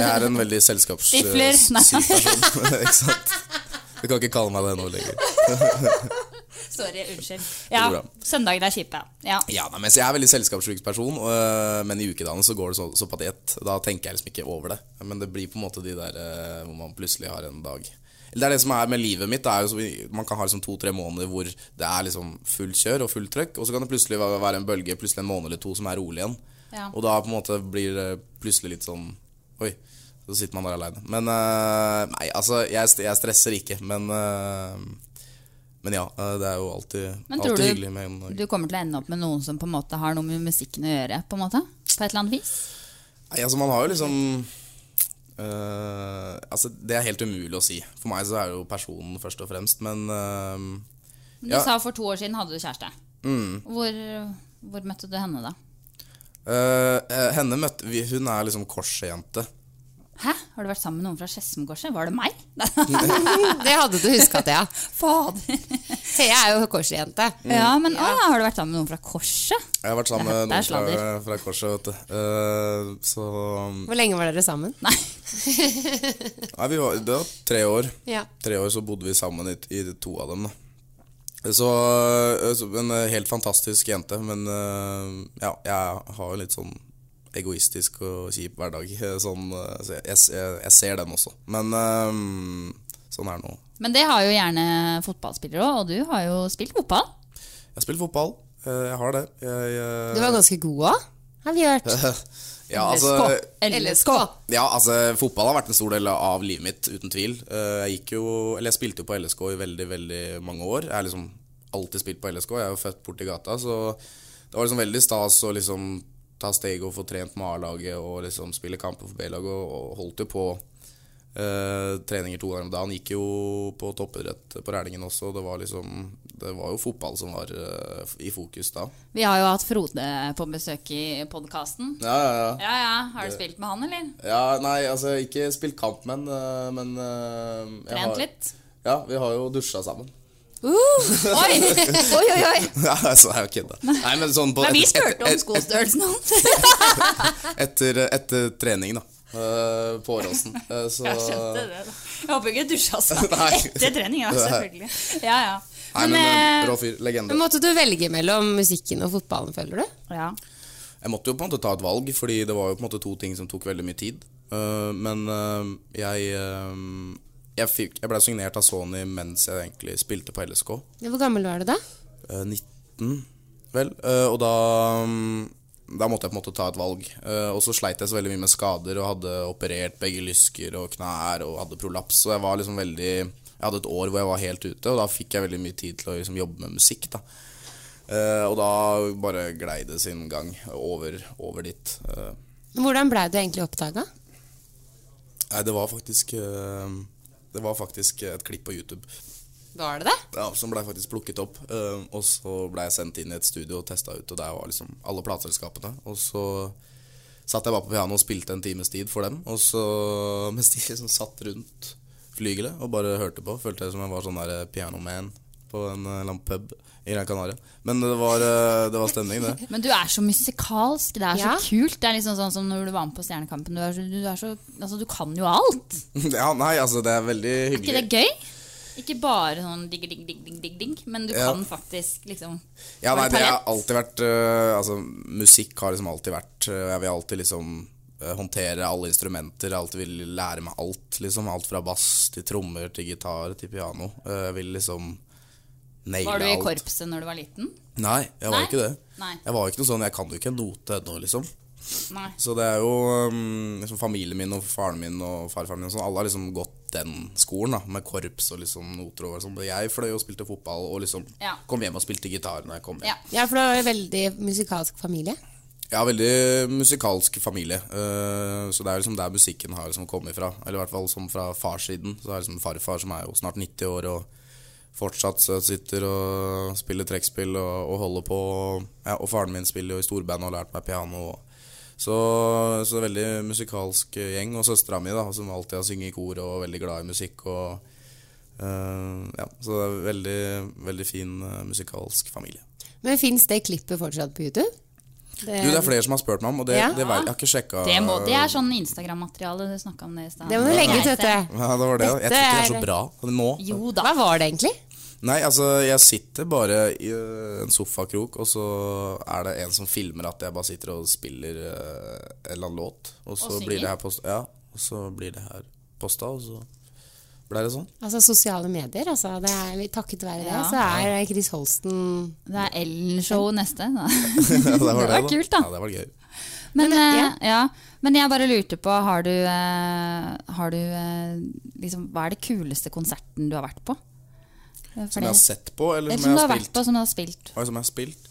Jeg er en veldig selskaps... Stifler. s- syk person, ikke sant? Du kan ikke kalle meg det nå lenger. Sorry, unnskyld. Ja, går bra. søndagen er kjipe. Ja. Ja, nei, men så Jeg er en veldig selskapssjuk person, og, øh, men i ukedagene så går det så, så på diett. Da tenker jeg liksom ikke over det. Men det blir på en måte de der øh, hvor man plutselig har en dag Eller Det er det som er med livet mitt. Det er jo så, man kan ha liksom to-tre måneder hvor det er liksom full kjør og full trøkk, og så kan det plutselig være være en bølge plutselig en måned eller to som er rolig igjen. Ja. Og da på en måte blir det plutselig litt sånn Oi, så sitter man der aleine. Men øh, nei, altså, jeg, st- jeg stresser ikke, men øh, men ja, øh, det er jo alltid, Men tror alltid du- hyggelig med en Du kommer til å ende opp med noen som på en måte har noe med musikken å gjøre? På en måte? På et eller annet vis? Nei, altså man har jo liksom øh, Altså det er helt umulig å si. For meg så er det jo personen først og fremst, men øh, Men Du Ja. sa for to år siden hadde du kjæreste. Hvor, hvor møtte du henne da? Eh, eh, henne møtte vi Hun er liksom korsjente. Hæ? Har du vært sammen med noen fra Skedsmokorset? Var det meg? Det hadde du huska, Thea. Fader. Thea er jo korsjente. Ja, men å, ja, har du vært sammen med noen fra Korset? Jeg har vært sammen Det med er noen fra, sladder. fra Korset, vet du. Eh, så Hvor lenge var dere sammen? Nei. Nei, vi var, Det var tre år. Ja. Tre år så bodde vi sammen i, i de to av dem, da. Så, eh, så En eh, helt fantastisk jente, men eh, ja, jeg har jo litt sånn egoistisk og kjip hverdag. eh, Sånn, eh, så jeg, jeg, jeg ser den også. Men eh, sånn er det nå. Men det har jo gjerne fotballspillere òg, og du har jo spilt fotball. Jeg spiller fotball. eh, Jeg har det. Jeg, eh, Du var ganske god òg, har vi hørt. ja, altså, LSK. Ja, altså Fotball har vært en stor del av livet mitt, uten tvil. Eh, Jeg, gikk jo, eller jeg spilte jo på LSK i veldig veldig mange år. Jeg har liksom alltid spilt på LSK. Jeg er jo født borti gata, så det var liksom veldig stas å liksom ta steg og få trent med A-laget og liksom spille kamper for B-laget, og- og holdt jo på eh, treninger to ganger om dagen. Gikk jo på toppidrett på Rælingen også. Det var liksom Det var jo fotball som var eh, i fokus da. Vi har jo hatt Frode på besøk i podkasten. Ja, ja, ja. Ja, ja. Har du spilt med han, eller? Ja, nei, altså ikke spilt kamp, men, øh, men øh, jeg har- Trent litt? Ja, vi har jo dusja sammen. Uh, oi! oi, oi, oi! Ja, altså, jeg kødder. Nei, men sånn på Nei, vi et- spurte om et- et- skostørrelsen hans. Etter, etter trening, da. øh, På Åråsen. Øh, Så Jeg skjønte det. da. Jeg håper ikke du dusja seg Nei. etter trening. Ja, selvfølgelig. Ja, ja. Nei, men Men, øh, eh, rå fyr. Legende. Men Måtte du velge mellom musikken og fotballen, føler du? ja. Jeg måtte jo på en måte ta et valg, fordi det var jo på en måte to ting som tok veldig mye tid. Eh, men eh, jeg eh, jeg, fikk- jeg blei signert av Sony mens jeg egentlig spilte på LSK. Hvor gammel var du da? Eh, 19, vel. Eh, og da, mm, da måtte jeg på en måte ta et valg. Eh, og så sleit jeg så veldig mye med skader og hadde operert begge lysker og knær og hadde prolaps. Så jeg var liksom veldig Jeg hadde et år hvor jeg var helt ute, og da fikk jeg veldig mye tid til å liksom, jobbe med musikk. da Eh, Og da bare glei det sin gang over, over dit. Eh, Hvordan blei du egentlig oppdaga? nei, det var faktisk eh, Det var faktisk et klipp på YouTube. Var det det? ja, som blei faktisk plukket opp. eh, og så blei jeg sendt inn i et studio og testa ut, og der var liksom alle plateselskapene. Og så satt jeg bare på pianoet og spilte en times tid for dem. Og så mens de liksom satt rundt flygelet og bare hørte på, følte jeg som jeg var sånn der pianoman på en eh, eller annen pub i Gran Canaria. Men det var, eh, det var stemning, det. men du er så musikalsk. Det er Ja. så kult. Det er liksom sånn som når du var med på Stjernekampen. Du, er så, du, er så, altså, du kan jo alt. ja, nei, altså, det er veldig Er ikke hyggelig. det gøy? Ikke bare sånn digg, digg, digg, digg, digg, digg men du Ja. kan faktisk liksom Ja, nei, Har du det har talent? alltid vært øh, Altså, musikk har liksom alltid vært øh, Jeg vil alltid liksom øh, håndtere alle instrumenter. Jeg alltid vil lære meg alt, liksom. Alt fra bass til trommer til gitar til piano. Øh, Jeg vil liksom naile Var du i alt. korpset når du var liten? Nei, jeg var Nei? ikke det. Nei. Jeg var ikke noe sånn Jeg kan jo ikke en note ennå, liksom. Nei. Så det er jo øhm, liksom familien min og faren min og farfaren min og sånn, alle har liksom gått den skolen, da, med korps og liksom noter og sånn. Jeg fløy og spilte fotball og liksom Ja. kom hjem og spilte gitar når jeg kom hjem. Ja. Ja, for det var en veldig musikalsk familie. Ja, veldig musikalsk familie. eh, så det er liksom der musikken har liksom kommet fra. Eller i hvert fall som fra farssiden. Så er det liksom farfar som er jo snart 90 år og fortsatt så sitter og spiller trekkspill og, og holder på. Ja, og faren min spiller jo i storband og har lært meg piano. Og, så, så det er veldig musikalsk gjeng. Og søstera mi, da, som alltid har sunget i kor og er veldig glad i musikk. Og, eh, ja, så det er veldig, veldig fin eh, musikalsk familie. Men fins det klippet fortsatt på YouTube? Du, det er flere som har spurt meg om, og det, Ja. det vet, jeg har ikke sjekka Eh, Det, må, det er sånn Instagram-materiale du snakka om det i stad. Det må du legge ut, Nei, vet du. Ja, det var det. Jeg tror ikke det er Dette så bra nå. Jo da. Hva var det egentlig? Nei, altså, jeg sitter bare i øh, en sofakrok, og så er det en som filmer at jeg bare sitter og spiller øh, en eller annen låt. Og så synger. blir det her posta. Ja, og så blir det her posta, og så ble det sånn. Altså sosiale medier. Altså, det er, litt takket være det, Ja. så er Chris Holsten Det er Ellen-show neste. Da. det var Det var kult, da. Ja, det var gøy. Men, eh, ja. Men jeg bare lurte på, har du, eh, har du eh, liksom, Hva er det kuleste konserten du har vært på? Eh, for Som jeg har det- sett på, eller eller som jeg du har har vært spilt? på, som du har spilt. Oi, Som jeg har spilt?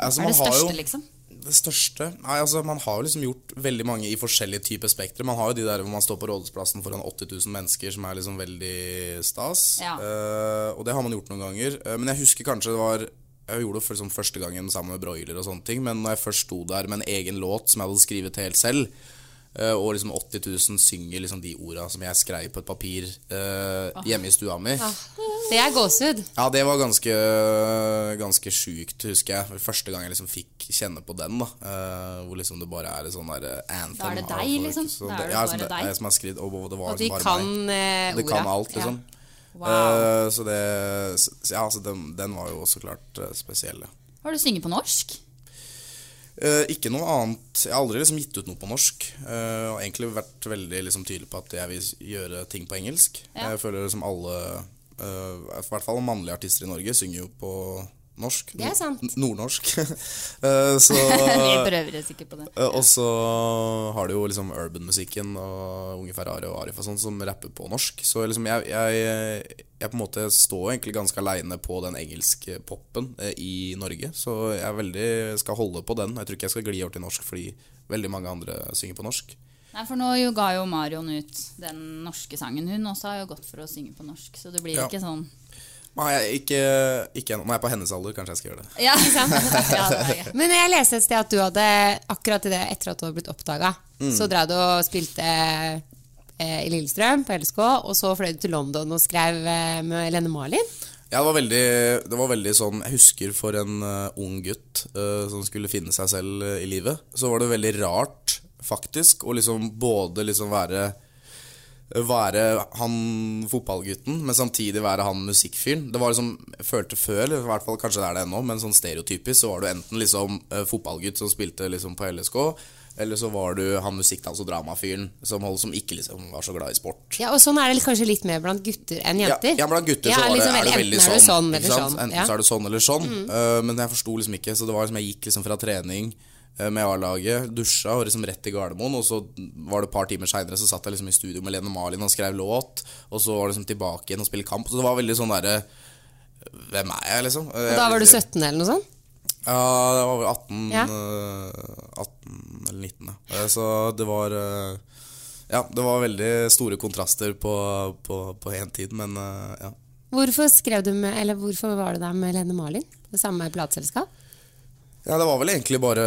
Altså, Er man det har jo- største, liksom? Det største? Nei, altså Man har jo liksom gjort veldig mange i forskjellige typer spektre. Man har jo de der hvor man står på Rådhusplassen foran 80 000 mennesker, som er liksom veldig stas. Ja. Eh, og det har man gjort noen ganger. Eh, men jeg husker kanskje det var jeg gjorde det for, liksom, første gangen sammen med broiler og sånne ting, men når jeg først sto der med en egen låt som jeg hadde skrevet helt selv, eh, og liksom 80 000 synger liksom de orda som jeg skrev på et papir eh, hjemme i stua mi Det er gåsehud. Ja, det var ganske, ganske sjukt, husker jeg. Første gang jeg liksom fikk kjenne på den, da. eh, hvor liksom det bare er et sånn der eh, anthem. Da er det av deg, folk, liksom. som Da er det- det ja, bare som det, deg. jeg som har skrevet, og det var Og de liksom bare kan meg. eh, Det kan orda. alt, Ja. liksom. Wow. Eh, så det så, Ja, altså, den, den var jo også klart eh, spesiell, ja. Har du sunget på norsk? Eh, ikke noe annet Jeg har aldri liksom gitt ut noe på norsk. eh, og egentlig vært veldig liksom, tydelig på at jeg vil s- gjøre ting på engelsk. Ja. Jeg føler liksom alle eh, I hvert fall mannlige artister i Norge synger jo på norsk. Det er sant. Nord- Nordnorsk. Eh, så Vi prøver oss ikke på det. eh, Og så har du jo liksom urban-musikken og Unge Ferrari og Arif og sånn som rapper på norsk. Så liksom jeg, jeg, jeg på en måte står egentlig ganske aleine på den engelske popen eh, i Norge. Så jeg er veldig, skal holde på den. Jeg tror ikke jeg skal gli over til norsk fordi veldig mange andre synger på norsk. Nei, for nå jo ga jo Marion ut den norske sangen. Hun også har jo gått for å synge på norsk, så det blir Ja. ikke sånn Nei, jeg, ikke, ikke ennå. Når jeg er på hennes alder, kanskje jeg skal gjøre det. Ja, ikke sant? ja, det er gøy. Men jeg leste et sted at du hadde akkurat i det etter at du hadde blitt oppdaga, Mm. så dra du og spilte eh, i Lillestrøm på LSK, og så fløy du til London og skrev eh, med Lene Marlin. Ja, det var veldig, det var veldig sånn Jeg husker for en eh, ung gutt eh, som skulle finne seg selv eh, i livet, så var det veldig rart, faktisk, å liksom både liksom være være han fotballgutten, men samtidig være han musikkfyren. Det var liksom, jeg følte før, eller i hvert fall kanskje det er det ennå, men sånn stereotypisk, så var du enten liksom eh, fotballgutt som spilte liksom på LSK, eller så var du han musikkdans- og dramafyren som, holdt- som ikke liksom var så glad i sport. Ja, og sånn er det kanskje litt mer blant gutter enn jenter. Ja, ja, blant gutter så Ja, var det, liksom er det veldig- veldig enten sånn. er du sånn ikke eller sant? sånn, Enten ja. Mm. så er det sånn eller sånn. eh, men jeg forsto liksom ikke, så det var liksom, jeg gikk liksom fra trening eh, med A-laget, dusja og liksom rett til Gardermoen. Og så var det et par timer seinere så satt jeg liksom i studio med Lene Malin og skrev låt. Og så var det liksom tilbake igjen og spille kamp. Så det var veldig sånn derre Hvem er jeg, liksom? Og da var du 17 eller noe sånt? Ja, det var vel 18, Ja. eh, 18 eller 19. ja. Eh, Så det var eh, Ja, det var veldig store kontraster på én på, en tid, men eh, ja. Hvorfor skrev du med, eller hvorfor var du der med Lene Marlin? Det samme plateselskap? Ja, Det var vel egentlig bare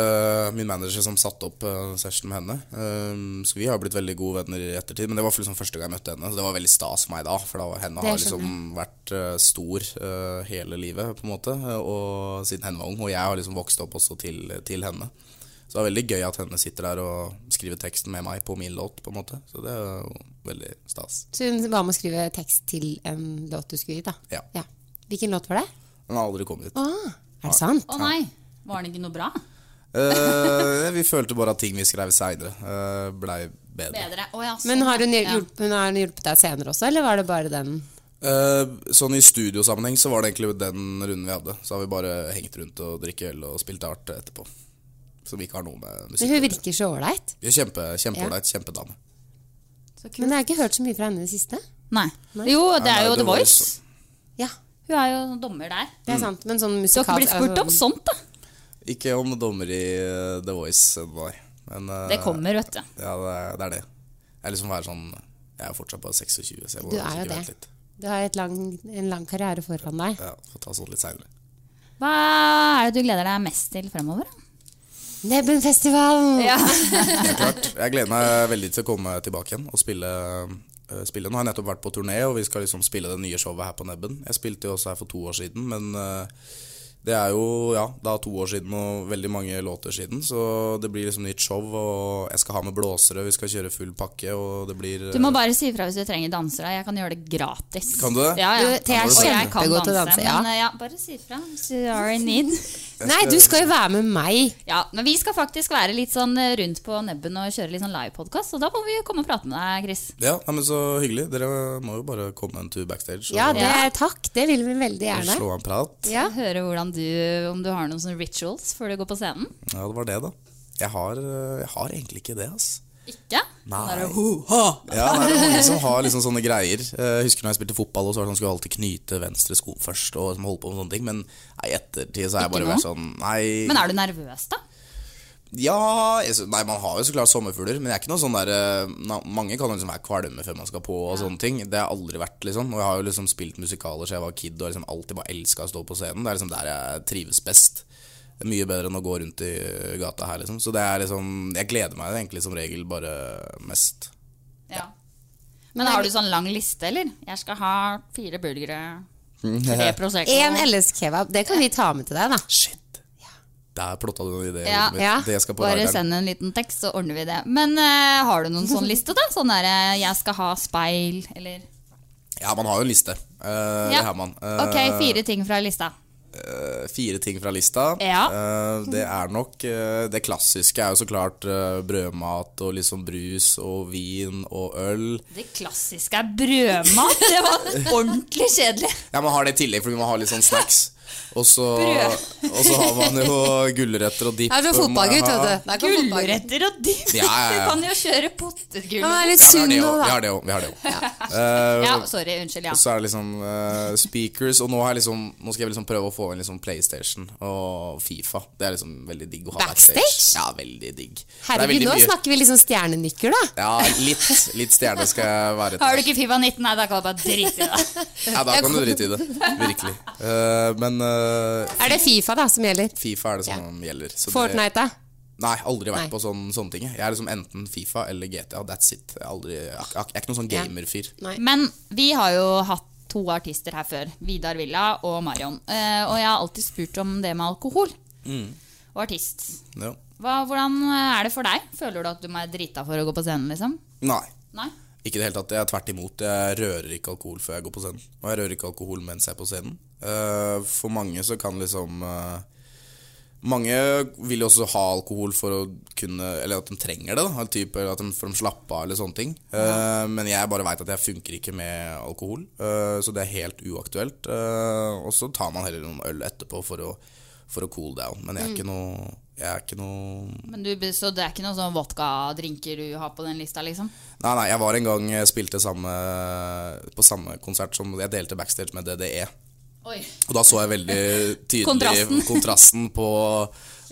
eh, min manager som satte opp uh, session med henne. Ehm, så vi har blitt veldig gode venner i ettertid, men det var liksom første gang jeg møtte henne. Så det var veldig stas for meg da, for da var- henne Det har skjønner liksom vært eh, stor eh, hele livet, på en måte. eh, Og siden henne var ung. Og jeg har liksom vokst opp også til, til henne. Så det er veldig gøy at henne sitter der og skriver teksten med meg på min låt, på en måte. Så det er jo veldig stas. Så hun var med å skrive tekst til en låt du skulle gi, da. Ja. Hvilken låt var det? Hun har aldri kommet hit. Ah, er det sant? Å nei, var det ikke noe bra? Eh, vi følte bare at ting vi skrev seinere, uh, blei bedre. Bedre. Å, ja, Men sånn, har hun, ja. hjulpet, hun har hjulpet deg senere også, eller var det bare den? Eh, sånn I studiosammenheng så var det egentlig den runden vi hadde. Så har vi bare hengt rundt og drikket øl og spilt art etterpå. Som ikke har noe med Men musikk hun å gjøre. virker så ålreit. Vi er kjempe, kjempeålreit, kjempedame. Så kult. Men jeg har ikke hørt så mye fra henne i det siste. Nei. Jo, det Nei, er jo det The var jo Voice. Ja, Hun er jo dommer der. det er sant. Men sånn Du har musikal... ikke blitt spurt om sånt, da. Ikke om dommer i eh, The Voice, eh, nei. Men eh, Det kommer, vet du. Ja, det er, det er det. Jeg er liksom være sånn Jeg er fortsatt bare 26, så jeg må Du er jo sikkert det. vente litt. Du har et lang, en lang karriere foran deg. Ja, Får ta sånn litt seinere. Hva er det du gleder deg mest til fremover? da? Nebbenfestivalen! klart. Jeg gleder meg veldig til å komme tilbake igjen og spille. eh, spille. Nå har jeg nettopp vært på turné, og vi skal liksom spille det nye showet her på Nebben. Jeg spilte jo også her for to år siden, men eh, det er jo ja, da to år siden og veldig mange låter siden. Så det blir liksom nytt show, og jeg skal ha med blåsere, vi skal kjøre full pakke, og det blir Du må bare si ifra hvis du trenger dansere. Jeg kan gjøre det gratis. Eh. Kan du det? Ja, ja. Du, Thea er Og jeg kan kjempegod til å danse, danse, ja. Men eh, ja, bare si ifra hvis you are in need. Nei, du skal jo være med meg! Ja, men vi skal faktisk være litt sånn eh, rundt på nebben og kjøre litt sånn livepodkast, og da må vi jo komme og prate med deg, Chris. Ja, nei, men så hyggelig. Dere må jo bare komme en tur backstage og, Ja, det, Ja. takk. Det vil vi veldig og gjerne. slå av en prat. Ja. Høre hvordan du, om du har noen sånne rituals før du går på scenen. Ja, det var det, da. Jeg har, eh, jeg har egentlig ikke det, altså. Ikke? Nei. Der, Ja, nei, det er mange som har liksom sånne greier. Eh, Jeg husker når jeg spilte fotball, og så var det sånn, skulle jeg alltid knyte venstre sko først. Og liksom holde på med sånne ting Men nei, i ettertid så har jeg Ikke bare nå? vært sånn Nei. Men er du nervøs, da? Ja jeg sy- Nei, man har jo så klart sommerfugler, men jeg er ikke noe sånn der eh, na, Mange kan jo liksom være kvalme før man skal på og sånne ting. Det har jeg aldri vært, liksom. Og jeg har jo liksom spilt musikaler siden jeg var kid og liksom alltid bare elska å stå på scenen. Det er liksom der jeg trives best. Det er Mye bedre enn å gå rundt i gata her, liksom. Så det er liksom Jeg gleder meg egentlig som regel bare mest. Ja. Men har du sånn lang liste, eller? Jeg skal ha fire burgere, tre prosecco En LS kebab, det kan vi ta med til deg, da. Shit! Der plotta du noen ideer. Ja, Elisabeth. ja. Det skal på Bare radaren. send en liten tekst, så ordner vi det. Men eh, har du noen sånn liste, da? Sånn derre 'jeg skal ha speil', eller Ja, man har jo en liste. Eh, Det har man. Eh, Ok, fire ting fra lista. eh, fire ting fra lista. Ja. Eh, det er nok eh, Det klassiske er jo så klart eh, brødmat og liksom brus og vin og øl. Det klassiske er brødmat. Det var ordentlig kjedelig. Ja, Man har det i tillegg, fordi man har litt sånn snacks. Og så, Brød. og så har man jo gulrøtter og dipp. Jeg er fra og man fotballgutt, har- vet du. Da kan fotballgutt. Gulrøtter og dipp. Ja, ja, ja. Du kan jo kjøre Han potetgull. er litt Vi har sunn det nå, jo- Vi da. har det jo. Vi har det jo. Eh, Ja, sorry. Unnskyld. ja Og så er det liksom eh, speakers, og nå, har jeg liksom, nå skal jeg liksom prøve å få inn liksom PlayStation og Fifa. Det er liksom veldig digg å ha Backstage? Ja, veldig digg. Det er Herregud, veldig nå mye- snakker vi liksom stjernenykker, da. Ja, litt, litt stjerne skal jeg være. Har du ikke Fifa 19? Nei, da kan du bare drite i det. Ja, da kan du drite i det. Virkelig. Eh, men eh, Er det Fifa da som gjelder? Fifa er det som gjelder. så det- Fortnite, da? Nei, aldri vært Nei. på sånn, sånne ting. Jeg er liksom enten Fifa eller GTA. That's it. Jeg er, aldri, jeg er ikke- jeg er ikke noen sånn gamerfyr. Men vi har jo hatt to artister her før. Vidar Villa og Marion. Eh, og jeg har alltid spurt om det med alkohol og artist. Ja. Hva, hvordan eh, er det for deg? Føler du at du må være drita for å gå på scenen, liksom? Nei. Nei? Ikke i det hele tatt. Jeg er tvert imot. Jeg rører ikke alkohol før jeg går på scenen. Og jeg rører ikke alkohol mens jeg er på scenen. Eh, for mange så kan liksom eh, Mange vil jo også ha alkohol for å kunne Eller at de trenger det, da. Typ, eller at de, for de slapper av eller sånne ting. Eh, men jeg bare veit at jeg funker ikke med alkohol, eh, så det er helt uaktuelt. Eh, og så tar man heller noen øl etterpå for å, for å cool down. Men jeg er ikke noe Jeg er ikke noe Men du, så det er ikke noen sånn vodka-drinker du har på den lista, liksom? Nei, nei, jeg var en gang eh, spilte samme, på samme konsert som jeg delte backstage med DDE. Oi. Og da så jeg veldig tydelig kontrasten, Kontrasten. på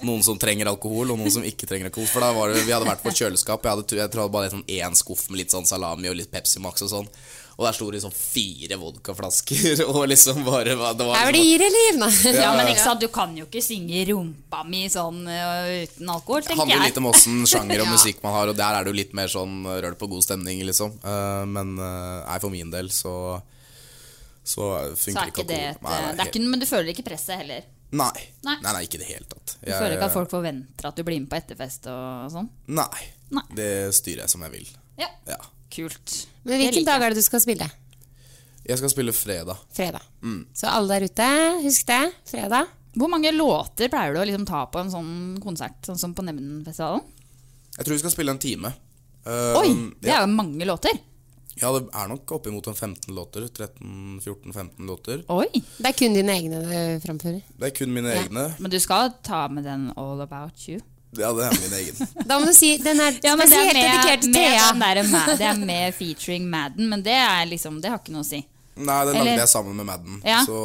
noen som trenger alkohol, og noen som ikke trenger alkohol. For da var det, vi hadde vært på et kjøleskap, jeg, hadde, tu- jeg tror jeg hadde bare sånn én skuff med litt sånn salami og litt Pepsi Max og sånn. Og der sto det liksom fire vodkaflasker, og liksom bare hva- det var Er liksom, det gir eller gir, da? Ja, men ikke sant, du kan jo ikke synge 'Rumpa mi' sånn øh, uten alkohol, Det tenker handler jo jeg. litt om åssen sjanger og musikk man har, og der er det jo litt mer sånn eh, røl på god stemning, liksom. Eh, men eh, nei, for min del så så Så funker er ikke det alkohol. et øh, det er ikke, Men du føler ikke presset heller? Nei. Nei. Nei. nei, ikke i det hele tatt. Du føler ikke at folk forventer at du blir med på etterfest og sånn? Nei. Nei. Det styrer jeg som jeg vil. Ja. Ja. Kult. Men Det hvilken liker dag er det du skal spille? Jeg skal spille fredag. Fredag. Mm. Så alle der ute, husk det. Fredag. Hvor mange låter pleier du å liksom ta på en sånn konsert, sånn som på Nevnenfestivalen? Jeg tror vi skal spille en time. Oi, Um, det ja. er jo mange låter! ja, det er nok oppimot en 15 låter. 13-14-15 låter. Oi, Det er kun dine egne du framfører. Det er kun mine egne. Men du skal ta med den All About You. Ja, det er min egen. Da må du si den er spesielt dedikert til med den Thea. derre Ma- det er med featuring Madden, men det, er liksom, det har ikke noe å si. Nei, den Eller- lagde jeg sammen med Madden. Ja. Så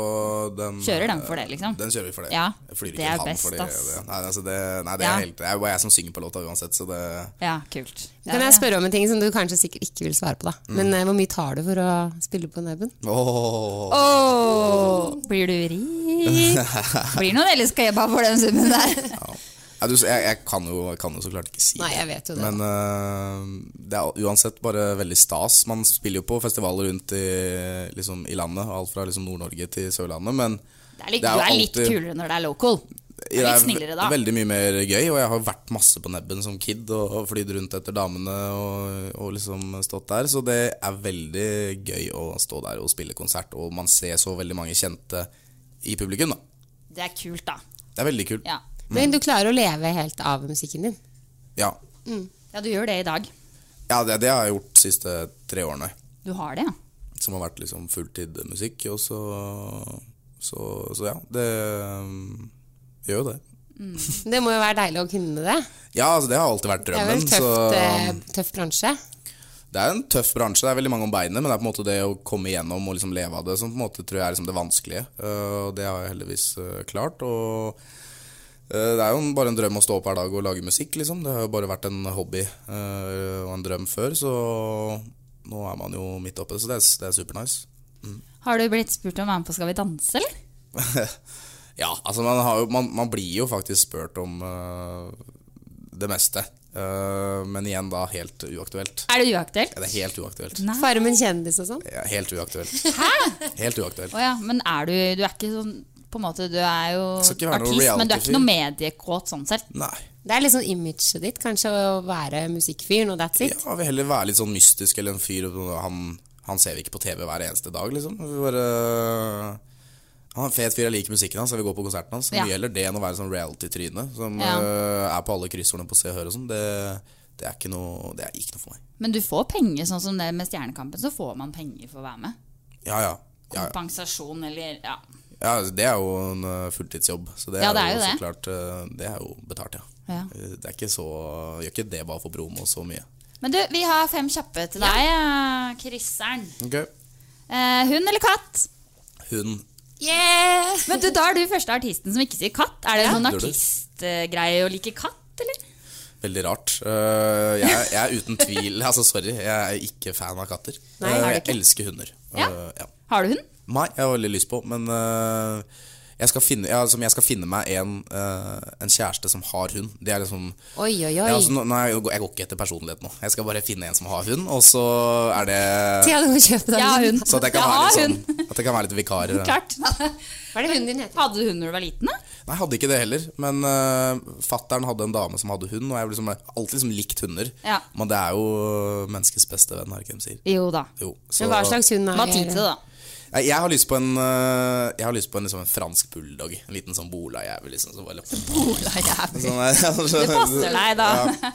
den Kjører den for det, liksom? Den kjører vi for det. Ja, Jeg flyr det ikke er ham best, for det. ass. det. Nei, altså det, nei, det Ja. er helt Det er jo bare jeg som synger på låta uansett, så det Ja, kult. Kan jeg spørre om en ting som du kanskje sikkert ikke vil svare på, da. Mm. Men eh, hvor mye tar du for å spille på Nebben? Åh. Åh, blir du rik? Blir noen ellers kebab for den summen der? Ja, du, jeg, jeg, kan jo, jeg kan jo så klart ikke si Nei, jeg vet jo det. Men eh, det er uansett bare veldig stas. Man spiller jo på festivaler rundt i, liksom, i landet, alt fra liksom, Nord-Norge til Sørlandet, men Det er litt, du Det er jo er litt alltid- kulere når det er local. Det er litt snillere da. veldig mye mer gøy, og jeg har vært masse på nebben som kid og, og flydd rundt etter damene og, og liksom stått der, så det er veldig gøy å stå der og spille konsert, og man ser så veldig mange kjente i publikum, da. Det er kult, da. Det er veldig kult. Ja, Men du klarer å leve helt av musikken din. Ja, ja du gjør det i dag. Ja, det, det har jeg gjort de siste tre årene. Du har det, ja. som har vært liksom fulltid musikk. Og så, så, så ja, det øhm, gjør jo det. Det må jo være deilig å kunne det. Ja, altså det har alltid vært Det er vel drømmen. tøft, eh, så tøff bransje. det er en tøff bransje. Det er veldig mange om beinet, men det er på en måte det å komme igjennom og liksom leve Eh, av det som på en måte tror jeg er liksom det vanskelige. Øh, eh, Og det har jeg heldigvis øh, klart. Og Eh, Det er jo en- bare en drøm å stå opp hver dag og lage musikk, liksom. Det har jo bare vært en hobby eh, og en drøm før, så nå er man jo midt oppe, så det er, det er supernice. Har du blitt spurt om å være med på Skal vi danse, eller? Ja, altså man, har jo, man, man blir jo faktisk spurt om eh, det meste. Eh, men igjen da helt uaktuelt. Er det uaktuelt? Ja, Det er helt uaktuelt. Nei. Farmen kjendis og sånn. Ja, helt uaktuelt. Helt uaktuelt. Å ja, men er du Du er ikke sånn på en måte, Du er jo Skal ikke være artist, noe men du er reality-fyr. ikke noe mediekåt sånn sett. Nei. Det er litt sånn imaget ditt, kanskje, å være musikkfyren, og that's it. Ja, vil heller være litt sånn mystisk eller en fyr han, han ser vi ikke på TV hver eneste dag, liksom. Vi bare Han er en fet fyr, jeg liker musikken hans, jeg vil gå på konserten hans. Ja. Mye heller det enn å være sånn reality-tryne som Ja. eh, er på alle kryssordene på Se og Hør og sånn. Det, det, er ikke noe- det er ikke noe for meg. Men du får penger, sånn som det med Stjernekampen. Så får man penger for å være med. Ja, ja. Ja, ja. Kompensasjon eller ja. ja, altså, det er jo en eh, fulltidsjobb, så det Ja, er, det er jo jo så det. klart eh, Det er jo betalt, ja. ja. Eh, Det er ikke så Gjør ikke det bare for promo så mye. Men du, vi har fem kjappe til deg, eh, Christern. Ok Eh, hund eller katt? Hun Yeah! Men du, Da er du første artisten som ikke sier katt. Er det noen Gjør du? artistgreie å like katt, eller? Veldig rart. Eh, jeg, jeg er uten tvil Altså, sorry, jeg er ikke fan av katter. Nei, er du Eh, ikke? jeg elsker hunder. Ja. Eh, ja. Har du hund? Nei, jeg har veldig lyst på, men eh, jeg, skal finne, ja, som jeg skal finne meg en, eh, en kjæreste som har hund. Det er liksom Oi, oi, oi. ja, altså, nå, nå, er jeg, jeg går ikke etter personlighet nå. Jeg skal bare finne en som har hund, og så er det Thea, du må kjøpe deg Jeg har en hund. Så at jeg kan, Jeg være har litt, sånn, at jeg kan være litt vikar. Klart. Hva er det hunden din heter? Hadde du hund når du var liten? da? Nei, jeg hadde ikke det heller, men uh, fattern hadde en dame som hadde hund, og jeg har liksom, alltid liksom likt hunder. Ja. Men det er jo eh, menneskets beste venn, er det ikke de sier? Jo da. Jo, Men Hva slags hund er Hva tid til det, da? Nei, Jeg har lyst på en, øh, jeg har lyst på en, liksom, en fransk bulldog. En liten sånn bolajævel. Liksom, som bare- sånn, der. Det passer deg, da.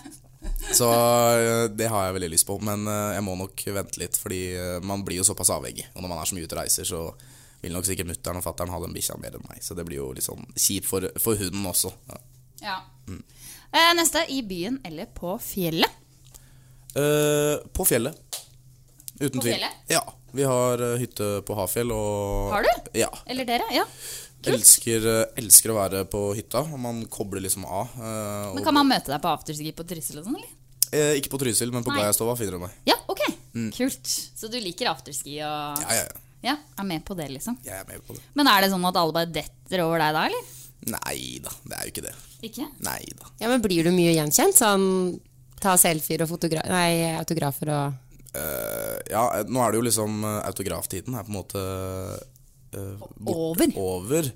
så øh, det har jeg veldig lyst på. Men øh, jeg må nok vente litt, fordi øh, man blir jo såpass avhengig. Og når man er så mye ute og reiser, så vil nok sikkert mutter'n og fatter'n ha den bikkja mer enn meg. Så det blir jo litt sånn kjipt for, for hunden også. Ja. Ja. Eh, neste. I byen eller på fjellet? Eh, på fjellet. Uten På tvil. fjellet? Ja. Vi har øh, hytte på Hafjell og Har du? Ja. Eller dere? Ja. Elsker, eh, elsker å være på hytta. og Man kobler liksom av. eh, Men og- Kan man møte deg på afterski på Trysil og sånn, eller? eh, ikke på Trysil, men på Nei. Gaiastova finner du meg. Ja, ok. Kult. Så du liker afterski og Mm. Ja, ja, ja. Ja, er med på det, liksom. Jeg er med på det. Men er det sånn at alle bare detter over deg da, eller? Nei da, det er jo ikke det. Ikke? Nei da. Ja, men blir du mye gjenkjent? Sånn, ta selfier og fotogra nei, autografer og Eh, ja, eh, nå er det jo liksom eh, Autograftiden er på en måte eh, bort- Over. over.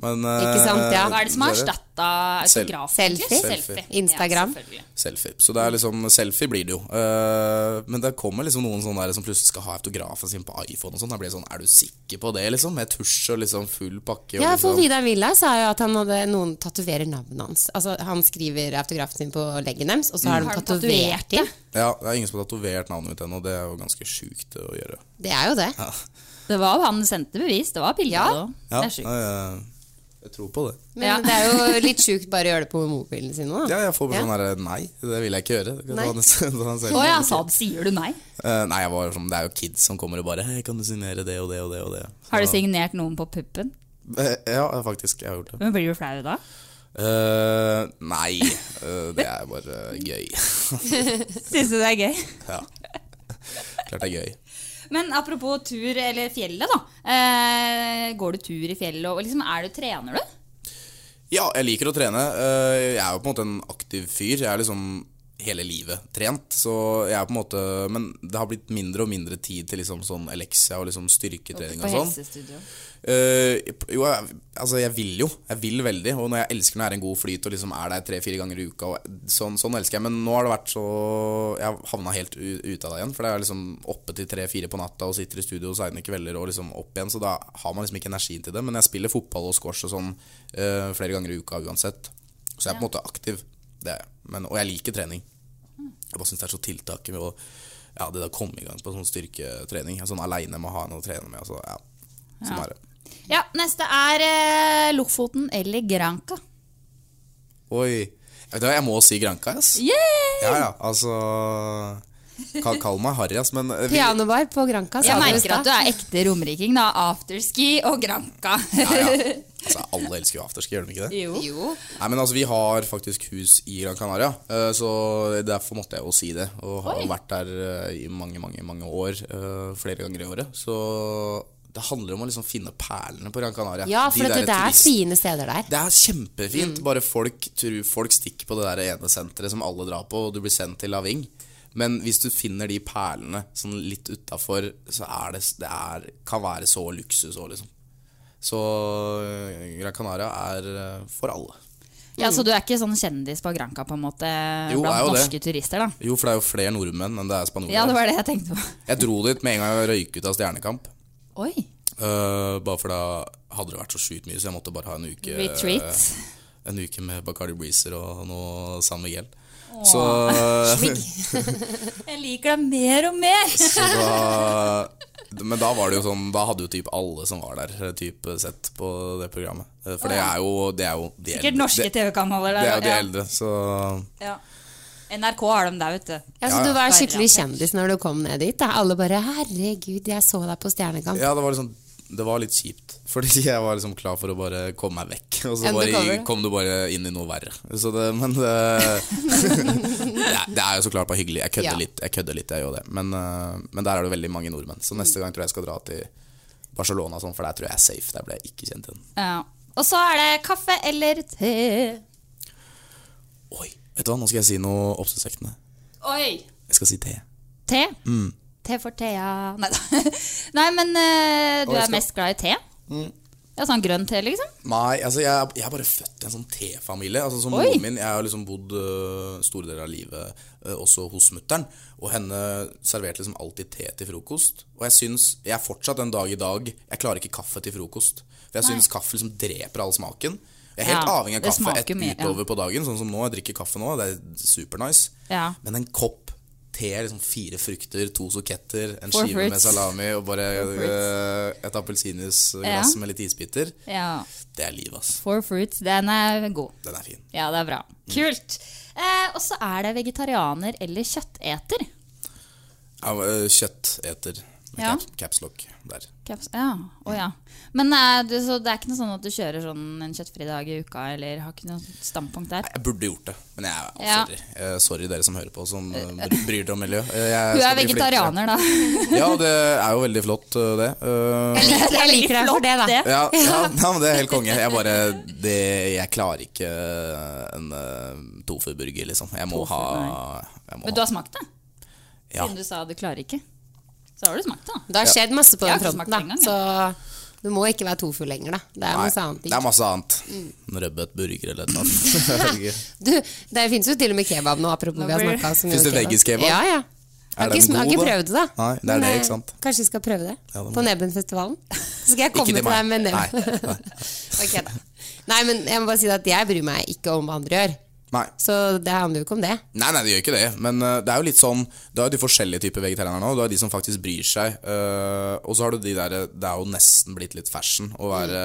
Men eh, Ikke sant, ja. Hva er det som har erstatta Sel- autograf? Selfie? egentlig? Selfie. Instagram? Ja, selvfølgelig. Selfie. Så det er liksom, selfie blir det jo. Eh, men det kommer liksom noen sånne der som plutselig skal ha autografen sin på iPhone. og sånn Da blir det sånn, Er du sikker på det? liksom Med tusj og liksom full pakke. og Ja, for liksom. Vidar Villa sa jo at han hadde noen tatoverer navnet hans. Altså, han skriver autografen sin på leggen deres, og så har de Har de tatovert tatovert det. Ja, det er ingen som har tatovert navnet mitt ennå. Det er jo ganske sjukt å gjøre. Det er jo det. Det var jo han som sendte bevis. Det var bilder av det også. Ja, Det er sjukt. Jeg, jeg tror på det. Men Ja. det er jo litt sjukt bare å gjøre det på mobilen sin nå. Ja, da. jeg får bare sånn derre Nei, det vil jeg ikke gjøre. Kan Nei. ta en- ta en selfie. Å ja, sa du sier du nei? Eh, nei, jeg var sånn, det er jo kids som kommer og bare Hei, kan du signere det og det og det og det? Har du signert noen på puppen? Eh, Ja, faktisk. Jeg har gjort det. Men blir du flau da? Eh, nei, eh, det er bare gøy. Syns du det er gøy? ja. Klart det er gøy. Men apropos tur eller fjellet, da. Eh, går du tur i fjellet, og liksom, er du trener du? Ja, jeg liker å trene. Eh, Jeg er jo på en måte en aktiv fyr. Jeg er liksom hele livet trent. Så jeg er på en måte Men det har blitt mindre og mindre tid til liksom sånn Elexia og liksom styrketrening og sånn. helsestudio. Eh, jo, jeg, altså jeg vil jo. Jeg vil veldig. Og når jeg elsker når jeg er en god flyt og liksom er der tre-fire ganger i uka. Og sånn, sånn elsker jeg. Men nå har det vært så Jeg har havna helt u- ute av det igjen. For det er liksom oppe til tre-fire på natta og sitter i studio seine kvelder og liksom opp igjen. Så da har man liksom ikke energien til det. Men jeg spiller fotball og squash og sånn eh, flere ganger i uka uansett. Så jeg er på en måte aktiv. Det er jeg. Men, og jeg liker trening. Jeg bare syns det er så tiltaket med å ja, det å komme i gang på sånn styrketrening. Sånn aleine med å ha noe å trene med. Altså, ja. Sånn er det. Ja, neste er eh, Lofoten eller Granca. Oi. Jeg vet hva, jeg må si Granca, ass. Ja, ja, altså Kall, kall meg harry, ass, men eh, vi, ja, Pianobar på Granca, sa Jeg du i merker stad. at du er ekte romriking, da. Afterski og Granca. ja. Altså, alle elsker jo afterski, gjør de ikke det? Jo. Nei, men altså, Vi har faktisk hus i Gran Canaria, eh, så derfor måtte jeg jo si det. Og har jo vært der eh, i mange mange, mange år. eh, Flere ganger i året. Så det handler om å liksom finne perlene på Gran Canaria. Ja, for De at det, der det er turist- fine steder der. Det er kjempefint. Mm. Bare folk, tror- folk stikker på det der ene senteret som alle drar på, og du blir sendt til Laving. Men hvis du finner de perlene sånn litt utafor, så er det, det er, kan være så luksus òg, liksom. Så eh, Gran Canaria er eh, for alle. Ja, Så du er ikke sånn kjendis på Granca på en måte Jo, jeg er blant jo det. norske turister? da Jo, for det er jo flere nordmenn enn det er spanjoler. Ja, det var det jeg tenkte på. Jeg dro dit med en gang jeg røyk ut av Stjernekamp. Oi, eh, bare for da hadde det vært så sjukt mye, så jeg måtte bare ha en uke retreat. En uke med Bacardi Breezer og noe San Miguel. Så, Jeg liker deg mer og mer! så da Men da var det jo sånn Da hadde jo typ alle som var der, typ sett på det programmet. Eh, For det er jo, det er jo de Sikkert norske Det, TV-kanaler. det er jo de ja. eldre, så Ja. NRK har dem der, vet du. Ja, så du var skikkelig kjendis når du kom ned dit. Da. Alle bare 'herregud, jeg så deg på Stjernekamp'. Ja, det var liksom det var litt kjipt, fordi jeg var liksom klar for å bare komme meg vekk. Og så bare, Undercover. kom du bare inn i noe verre. Så det, men det, det, er, det er jo så klart bare hyggelig. Jeg kødder Ja. litt, jeg kødder litt, jeg gjør det. Men, eh, men der er det veldig mange nordmenn. Så neste gang tror jeg jeg skal dra til Barcelona, og sånn, for der tror jeg jeg er safe. Der ble jeg ikke kjent igjen. Ja. Og så er det kaffe eller te. Oi, vet du hva, nå skal jeg si noe oppsiktsvekkende. Oi! Jeg skal si te. Te. Mm. Te for Thea Nei, da. Nei men eh, du Og jeg er skal- Mm. mest glad i te? Ja, Sånn grønn te, liksom? Nei, altså jeg, er- jeg er bare født i en sånn tefamilie. Altså som Oi. moren min, Jeg har liksom bodd øh, store deler av livet øh, også hos mutter'n. Og henne serverte liksom alltid te til frokost. Og jeg syns, jeg er fortsatt en dag i dag Jeg klarer ikke kaffe til frokost. For jeg syns kaffe liksom dreper all smaken. Jeg er helt Ja, avhengig av det kaffe smaker et, mye, ja. utover på dagen. Sånn som nå, jeg drikker kaffe nå, det er supernice. Ja. Men en kopp te, liksom fire frukter, to soketter, en Four skive med fruits. salami og bare øh, et appelsinjuiceglass Ja. med litt isbiter. Ja. Det er livet, ass. Four fruits, den er god. Den er fin. Ja, det er bra. Mm. Kult. Eh, og så er det vegetarianer eller kjøtteter. Ja, eh, Kjøtteter. Med Ja. caps, caps lock der. Kaps- Ja, å ja. Men eh, du, så det er ikke noe sånn at du kjører sånn en kjøttfri dag i uka, eller har ikke noe standpunkt der? Jeg burde gjort det, men jeg er Ja. sorry. Eh, Sorry dere som hører på, som eh, bry- bryr dere om miljø. Eh, jeg Du skal er bli vegetarianer, da. flinkere. Ja, det er jo veldig flott, eh, det. Eh, Jeg liker deg for det, da. det. Ja, ja, ja, men det er helt konge. Jeg bare det, Jeg klarer ikke en eh, tofuburger, liksom. Jeg må Tofu, ha jeg må Men du ha- har smakt det? Ja. Siden du sa du klarer ikke. Så har du smakt det, da. Det har skjedd masse på Jeg har den ikke smakt fronten, da. det Så du må ikke være tofu lenger, da. Det er Nei, masse annet. Det er masse annet. En rødbet burger eller noe. Du, det fins jo til og med kebab nå, apropos vi har blir- snakka så mye Finnes det veggisk kebab? Ja, ja. Jeg har den ikke, sm- jeg har god, ikke da? prøvd det, da. Nei, det er Men, det, eh, ikke sant? Kanskje vi skal prøve det? Ja, det må på vi. Nebenfestivalen? Så skal jeg komme Ikke til til deg meg. med Nei. Neben. Ok, da. Nei, men jeg må bare si at jeg bryr meg ikke om hva andre gjør. Nei. Så det handler jo ikke om det. Nei, nei, det gjør ikke det. Men eh, det er jo litt sånn Du har jo de forskjellige typer vegetarianere nå. Du har de som faktisk bryr seg. eh, og så har du de der Det er jo nesten blitt litt fashion å være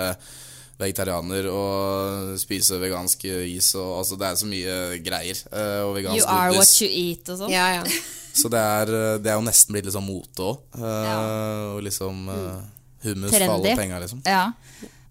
vegetarianer og spise vegansk is og altså Det er så mye greier. eh, og vegansk You are what godis. you eat og sånn. Ja, ja. Så det er, eh, det er jo nesten blitt litt sånn mote òg. Og liksom eh, hummus for alle Trendy. penga, liksom. Ja.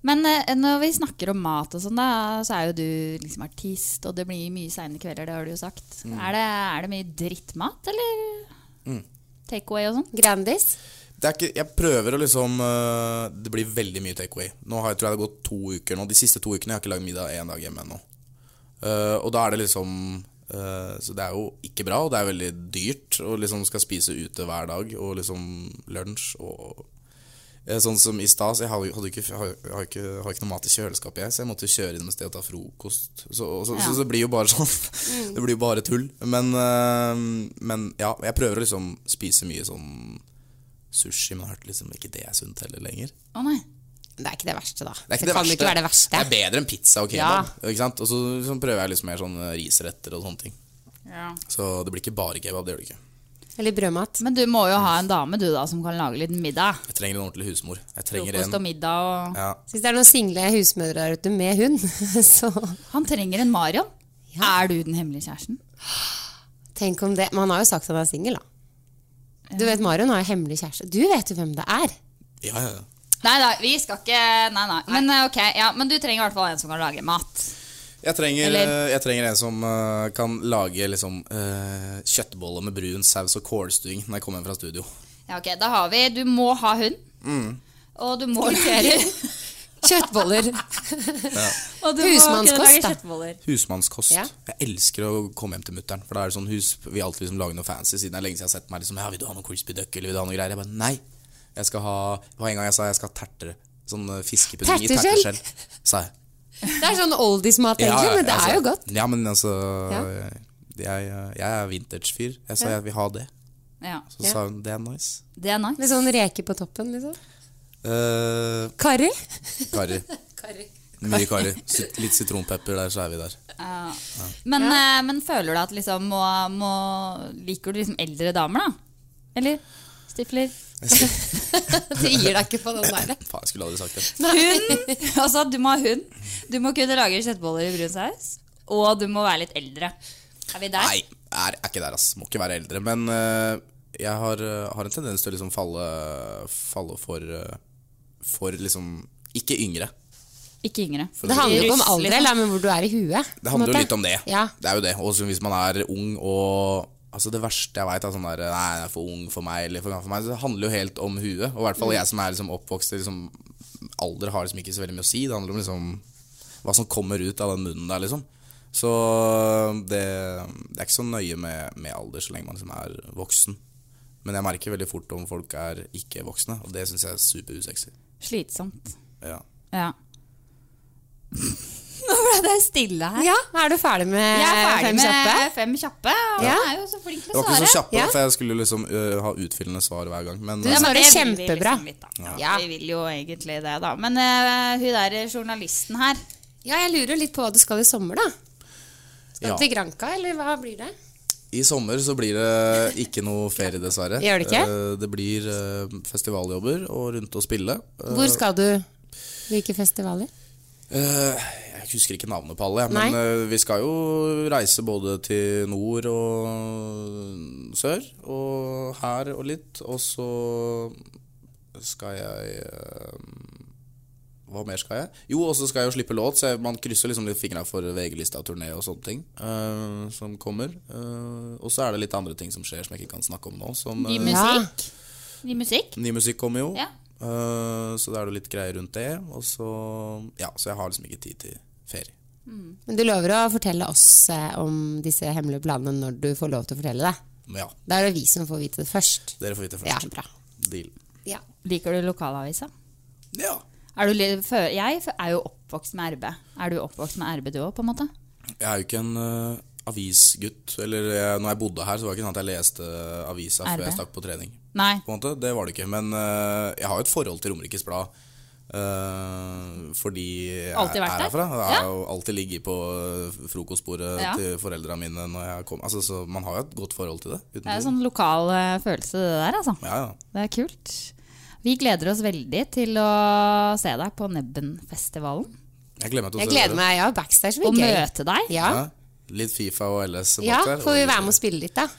Men eh, når vi snakker om mat og sånn, da, så er jo du liksom artist, og det blir mye seine kvelder, det har du jo sagt. Mm. Er, det, er det mye drittmat, eller takeaway og sånn? Grandis. det er ikke, jeg prøver å liksom øh, Det blir veldig mye takeaway. Nå har jeg, tror jeg det har gått to uker nå. De siste to ukene jeg har ikke lagd middag én dag hjemme ennå. Eh, og da er det liksom eh, Så det er jo ikke bra, og det er veldig dyrt. Og liksom skal spise ute hver dag, og liksom lunsj og eh, Sånn som i stad, så jeg har jo- hadde ikke, jeg har, jeg har ikke, jeg har ikke noe mat i kjøleskapet, jeg, så jeg måtte kjøre innom et sted og ta frokost. Så, og så, så, det blir jo bare sånn. Det blir jo bare tull. Men, eh, men ja, jeg prøver å liksom spise mye sånn sushi, men jeg har hørt liksom ikke det er sunt heller lenger. Å nei. Det er ikke det verste, da. Det er ikke det, kan verste. jo ikke være det verste. Det er bedre enn pizza og kebab. Ikke sant? Og så liksom prøver jeg liksom mer sånn eh, risretter og sånne ting. Så det blir ikke bare kebab, det gjør det ikke. Eller brødmat. Men du må jo ha en dame du da, som kan lage litt middag. Jeg trenger en ordentlig husmor. Jeg trenger Frokost og en middag og ja. Hvis det er noen single husmødre der ute med hund, så Han trenger en Marion. Er du den hemmelige kjæresten? tenk om det Men han har jo sagt han er singel, da. Du vet Marion har jo hemmelig kjæreste. Du vet jo hvem det er. ja, ja, ja. Nei da, vi skal ikke Nei, nei. Men eh, ok, ja, men du trenger i hvert fall en som kan lage mat. Jeg trenger, Eller- jeg trenger en som eh, kan lage liksom, eh, kjøttboller med brun saus og kålstuing når jeg kommer hjem fra studio. Ja, ok, da har vi Du må ha hund. Mm. Og du må levere Kjøttboller. Og du Husmannskost, må kunne lage da. kjøttboller. Husmannskost. Ja. Jeg elsker å komme hjem til mutter'n. For da er det sånn hus Vi alltid liksom lager noe fancy siden det er lenge siden jeg har sett meg liksom Ja, vil du ha noe crispy duck, eller vil du ha noe greier? Jeg bare nei. Jeg skal ha Det var en gang jeg sa jeg skal ha tertere. Sånn eh, fiskepudding i Terteskjell? terteskjell. Sa jeg. Det er sånn oldiesmat, egentlig, men det altså, er jo godt. Ja, men altså Ja. Jeg, jeg er vintage-fyr. Jeg sa jeg vil ha det. Ja, Så sa hun det er nice. Det er nice. Med sånn reker på toppen, liksom. Uh, Karri. karri. Mye karri. Sit- Litt sitronpepper der, så er vi der. Ja. Men, eh, men føler du at liksom må, må Liker du liksom eldre damer, da? Eller? Stifler? Det gir deg ikke på den der. Faen, jeg skulle aldri sagt det. Hund! altså, du må ha hund. Du må kunne lage kjøttboller i brun saus. Og du må være litt eldre. Er vi der? Nei, er, er ikke der, ass. Må ikke være eldre. Men eh, jeg har, eh, har en tendens til å liksom falle, falle for eh, For liksom ikke yngre. Ikke yngre. For å Det si handler jo ikke om Russ, alder, liksom. eller, men hvor du er i huet. Det handler jo på en måte. litt om det. Ja. Det er jo det. Også hvis man er ung og Altså Det verste jeg veit, er sånn der Nei, den er for ung for meg, eller for gammel for meg. Så Det handler jo helt om huet. Og i hvert fall Mm. jeg som er liksom oppvokst i liksom, Alder har liksom ikke så veldig mye å si. Det handler om liksom hva som kommer ut av den munnen der, liksom. Så det, det er ikke så nøye med, med alder så lenge man liksom er voksen. Men jeg merker veldig fort om folk er ikke voksne, og det syns jeg er superusexy. Slitsomt. Ja. Ja. Nå ble det stille her. Ja, er du ferdig med Jeg er ferdig Eh, fem kjappe? med fem kjappe. Og Ja. han er jo så flink Det til å var ikke svare. så kjappe, Ja. for jeg skulle liksom ø, ha utfyllende svar hver gang. Men, Du- Ja, men svarer det vil vi kjempebra. liksom litt, da. Ja. Vi vil jo egentlig det, da. Men eh, hun der journalisten her Ja, jeg lurer litt på hva du skal i sommer, da. Skal Ja. Eh. du til Granca, eller hva blir det? I sommer så blir det ikke noe ferie, dessverre. Gjør det ikke? Eh, Det blir eh, festivaljobber og rundt og spille. Eh, Hvor skal du? Hvilke festivaler? eh, Jeg husker ikke navnet på alle, jeg, men Nei. eh, vi skal jo reise både til nord og sør. Og her og litt. Og så skal jeg eh, Hva mer skal jeg? Jo, og så skal jeg jo slippe låt, så jeg, man krysser liksom litt fingra for VG-lista og turné og sånne ting eh, som kommer. Eh, og så er det litt andre ting som skjer som jeg ikke kan snakke om nå. Som, Ny eh, musikk. Ny musikk. Ny musikk kommer jo, Ja. Eh, så det er jo litt greier rundt det. Og så, ja, så jeg har liksom ikke tid til ferie. Men du lover å fortelle oss eh, om disse hemmelige planene når du får lov til å fortelle det? Men ja, Da er det vi som får vite det først. dere får vite Ja, først. bra. Deal. Ja. Liker du lokalavisa? Ja. Er du litt, fø- jeg fø- er jo oppvokst med RB. Er du oppvokst med RB du òg, på en måte? Jeg er jo ikke en eh, avisgutt. Eller jeg, når jeg bodde her, så var det ikke sånn at jeg leste avisa Er før det? jeg stakk på trening. Nei. På en måte, Det var det ikke. Men eh, jeg har jo et forhold til Romerikes Blad. eh, fordi jeg Alltid vært er der? herfra. Jeg Ja. har jo alltid ligget på eh, frokostbordet Ja. til foreldra mine. Når jeg kom. Altså, så man har jo et godt forhold til det. Uten Det er tvil. en sånn lokal eh, følelse, det der, altså. ja, ja. Det er kult. Vi gleder oss veldig til å se deg på Nebbenfestivalen. Jeg gleder meg til å Jeg se gleder dere. meg. Ja, backstage blir Og gøy. møte deg. Ja. Ja. Litt Fifa og LS. ja, bak der, får vi og- være med og spille litt, da? Ja,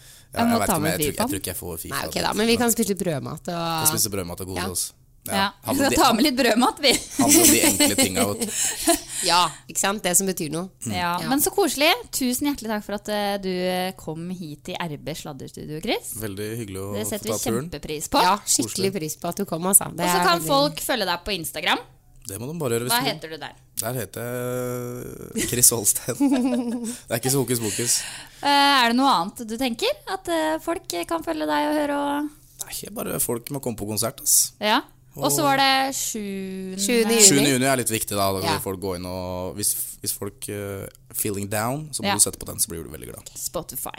Jeg må jeg, ta vet ikke, men med jeg, tror, ikke- jeg Fifaen. tror ikke jeg får Fifa. Nei, ok da, men vi kan spille brødmat Jeg og spiser brødmat og kose Ja. oss. Ja. Så Handler om de- ta med litt brødmat, vi. handler om de enkle tinga. vet du. Ja, ikke sant? Det som betyr noe. Ja, men så koselig. Tusen hjertelig takk for at eh, du kom hit i RB sladderstudio, Chris. Veldig hyggelig å Det få setter ta vi turen. kjempepris på. Ja, skikkelig pris på at du kom, altså. Det Og så er kan veldig- folk følge deg på Instagram. Det må de bare gjøre. Hva Hvis de- heter du der? Der heter jeg Chris Holsten. det er ikke så hokus pokus. Eh, er det noe annet du tenker? At eh, folk kan følge deg og høre og Nei, jeg bare folk må komme på konsert. ass. Ja. Og så var det sjuende 7. juni. 7. juni er litt viktig, da. Da kan Ja. folk gå inn og Hvis, hvis folk eh, feeling down, så må Ja. du sette på den, så blir du veldig glad. Spotify.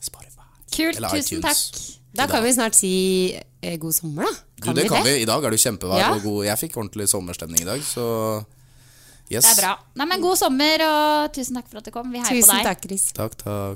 Spotify. Kult. Eller Tusen iTunes. takk. Da kan vi snart si eh, god sommer, da. Du, det kan vi. I dag er du kjempevær Ja. og god. Jeg fikk ordentlig sommerstemning i dag, så yes. Det er bra. Nei, men God sommer, og tusen takk for at du kom. Vi heier på Tusen deg. takk, Chris. Takk, takk.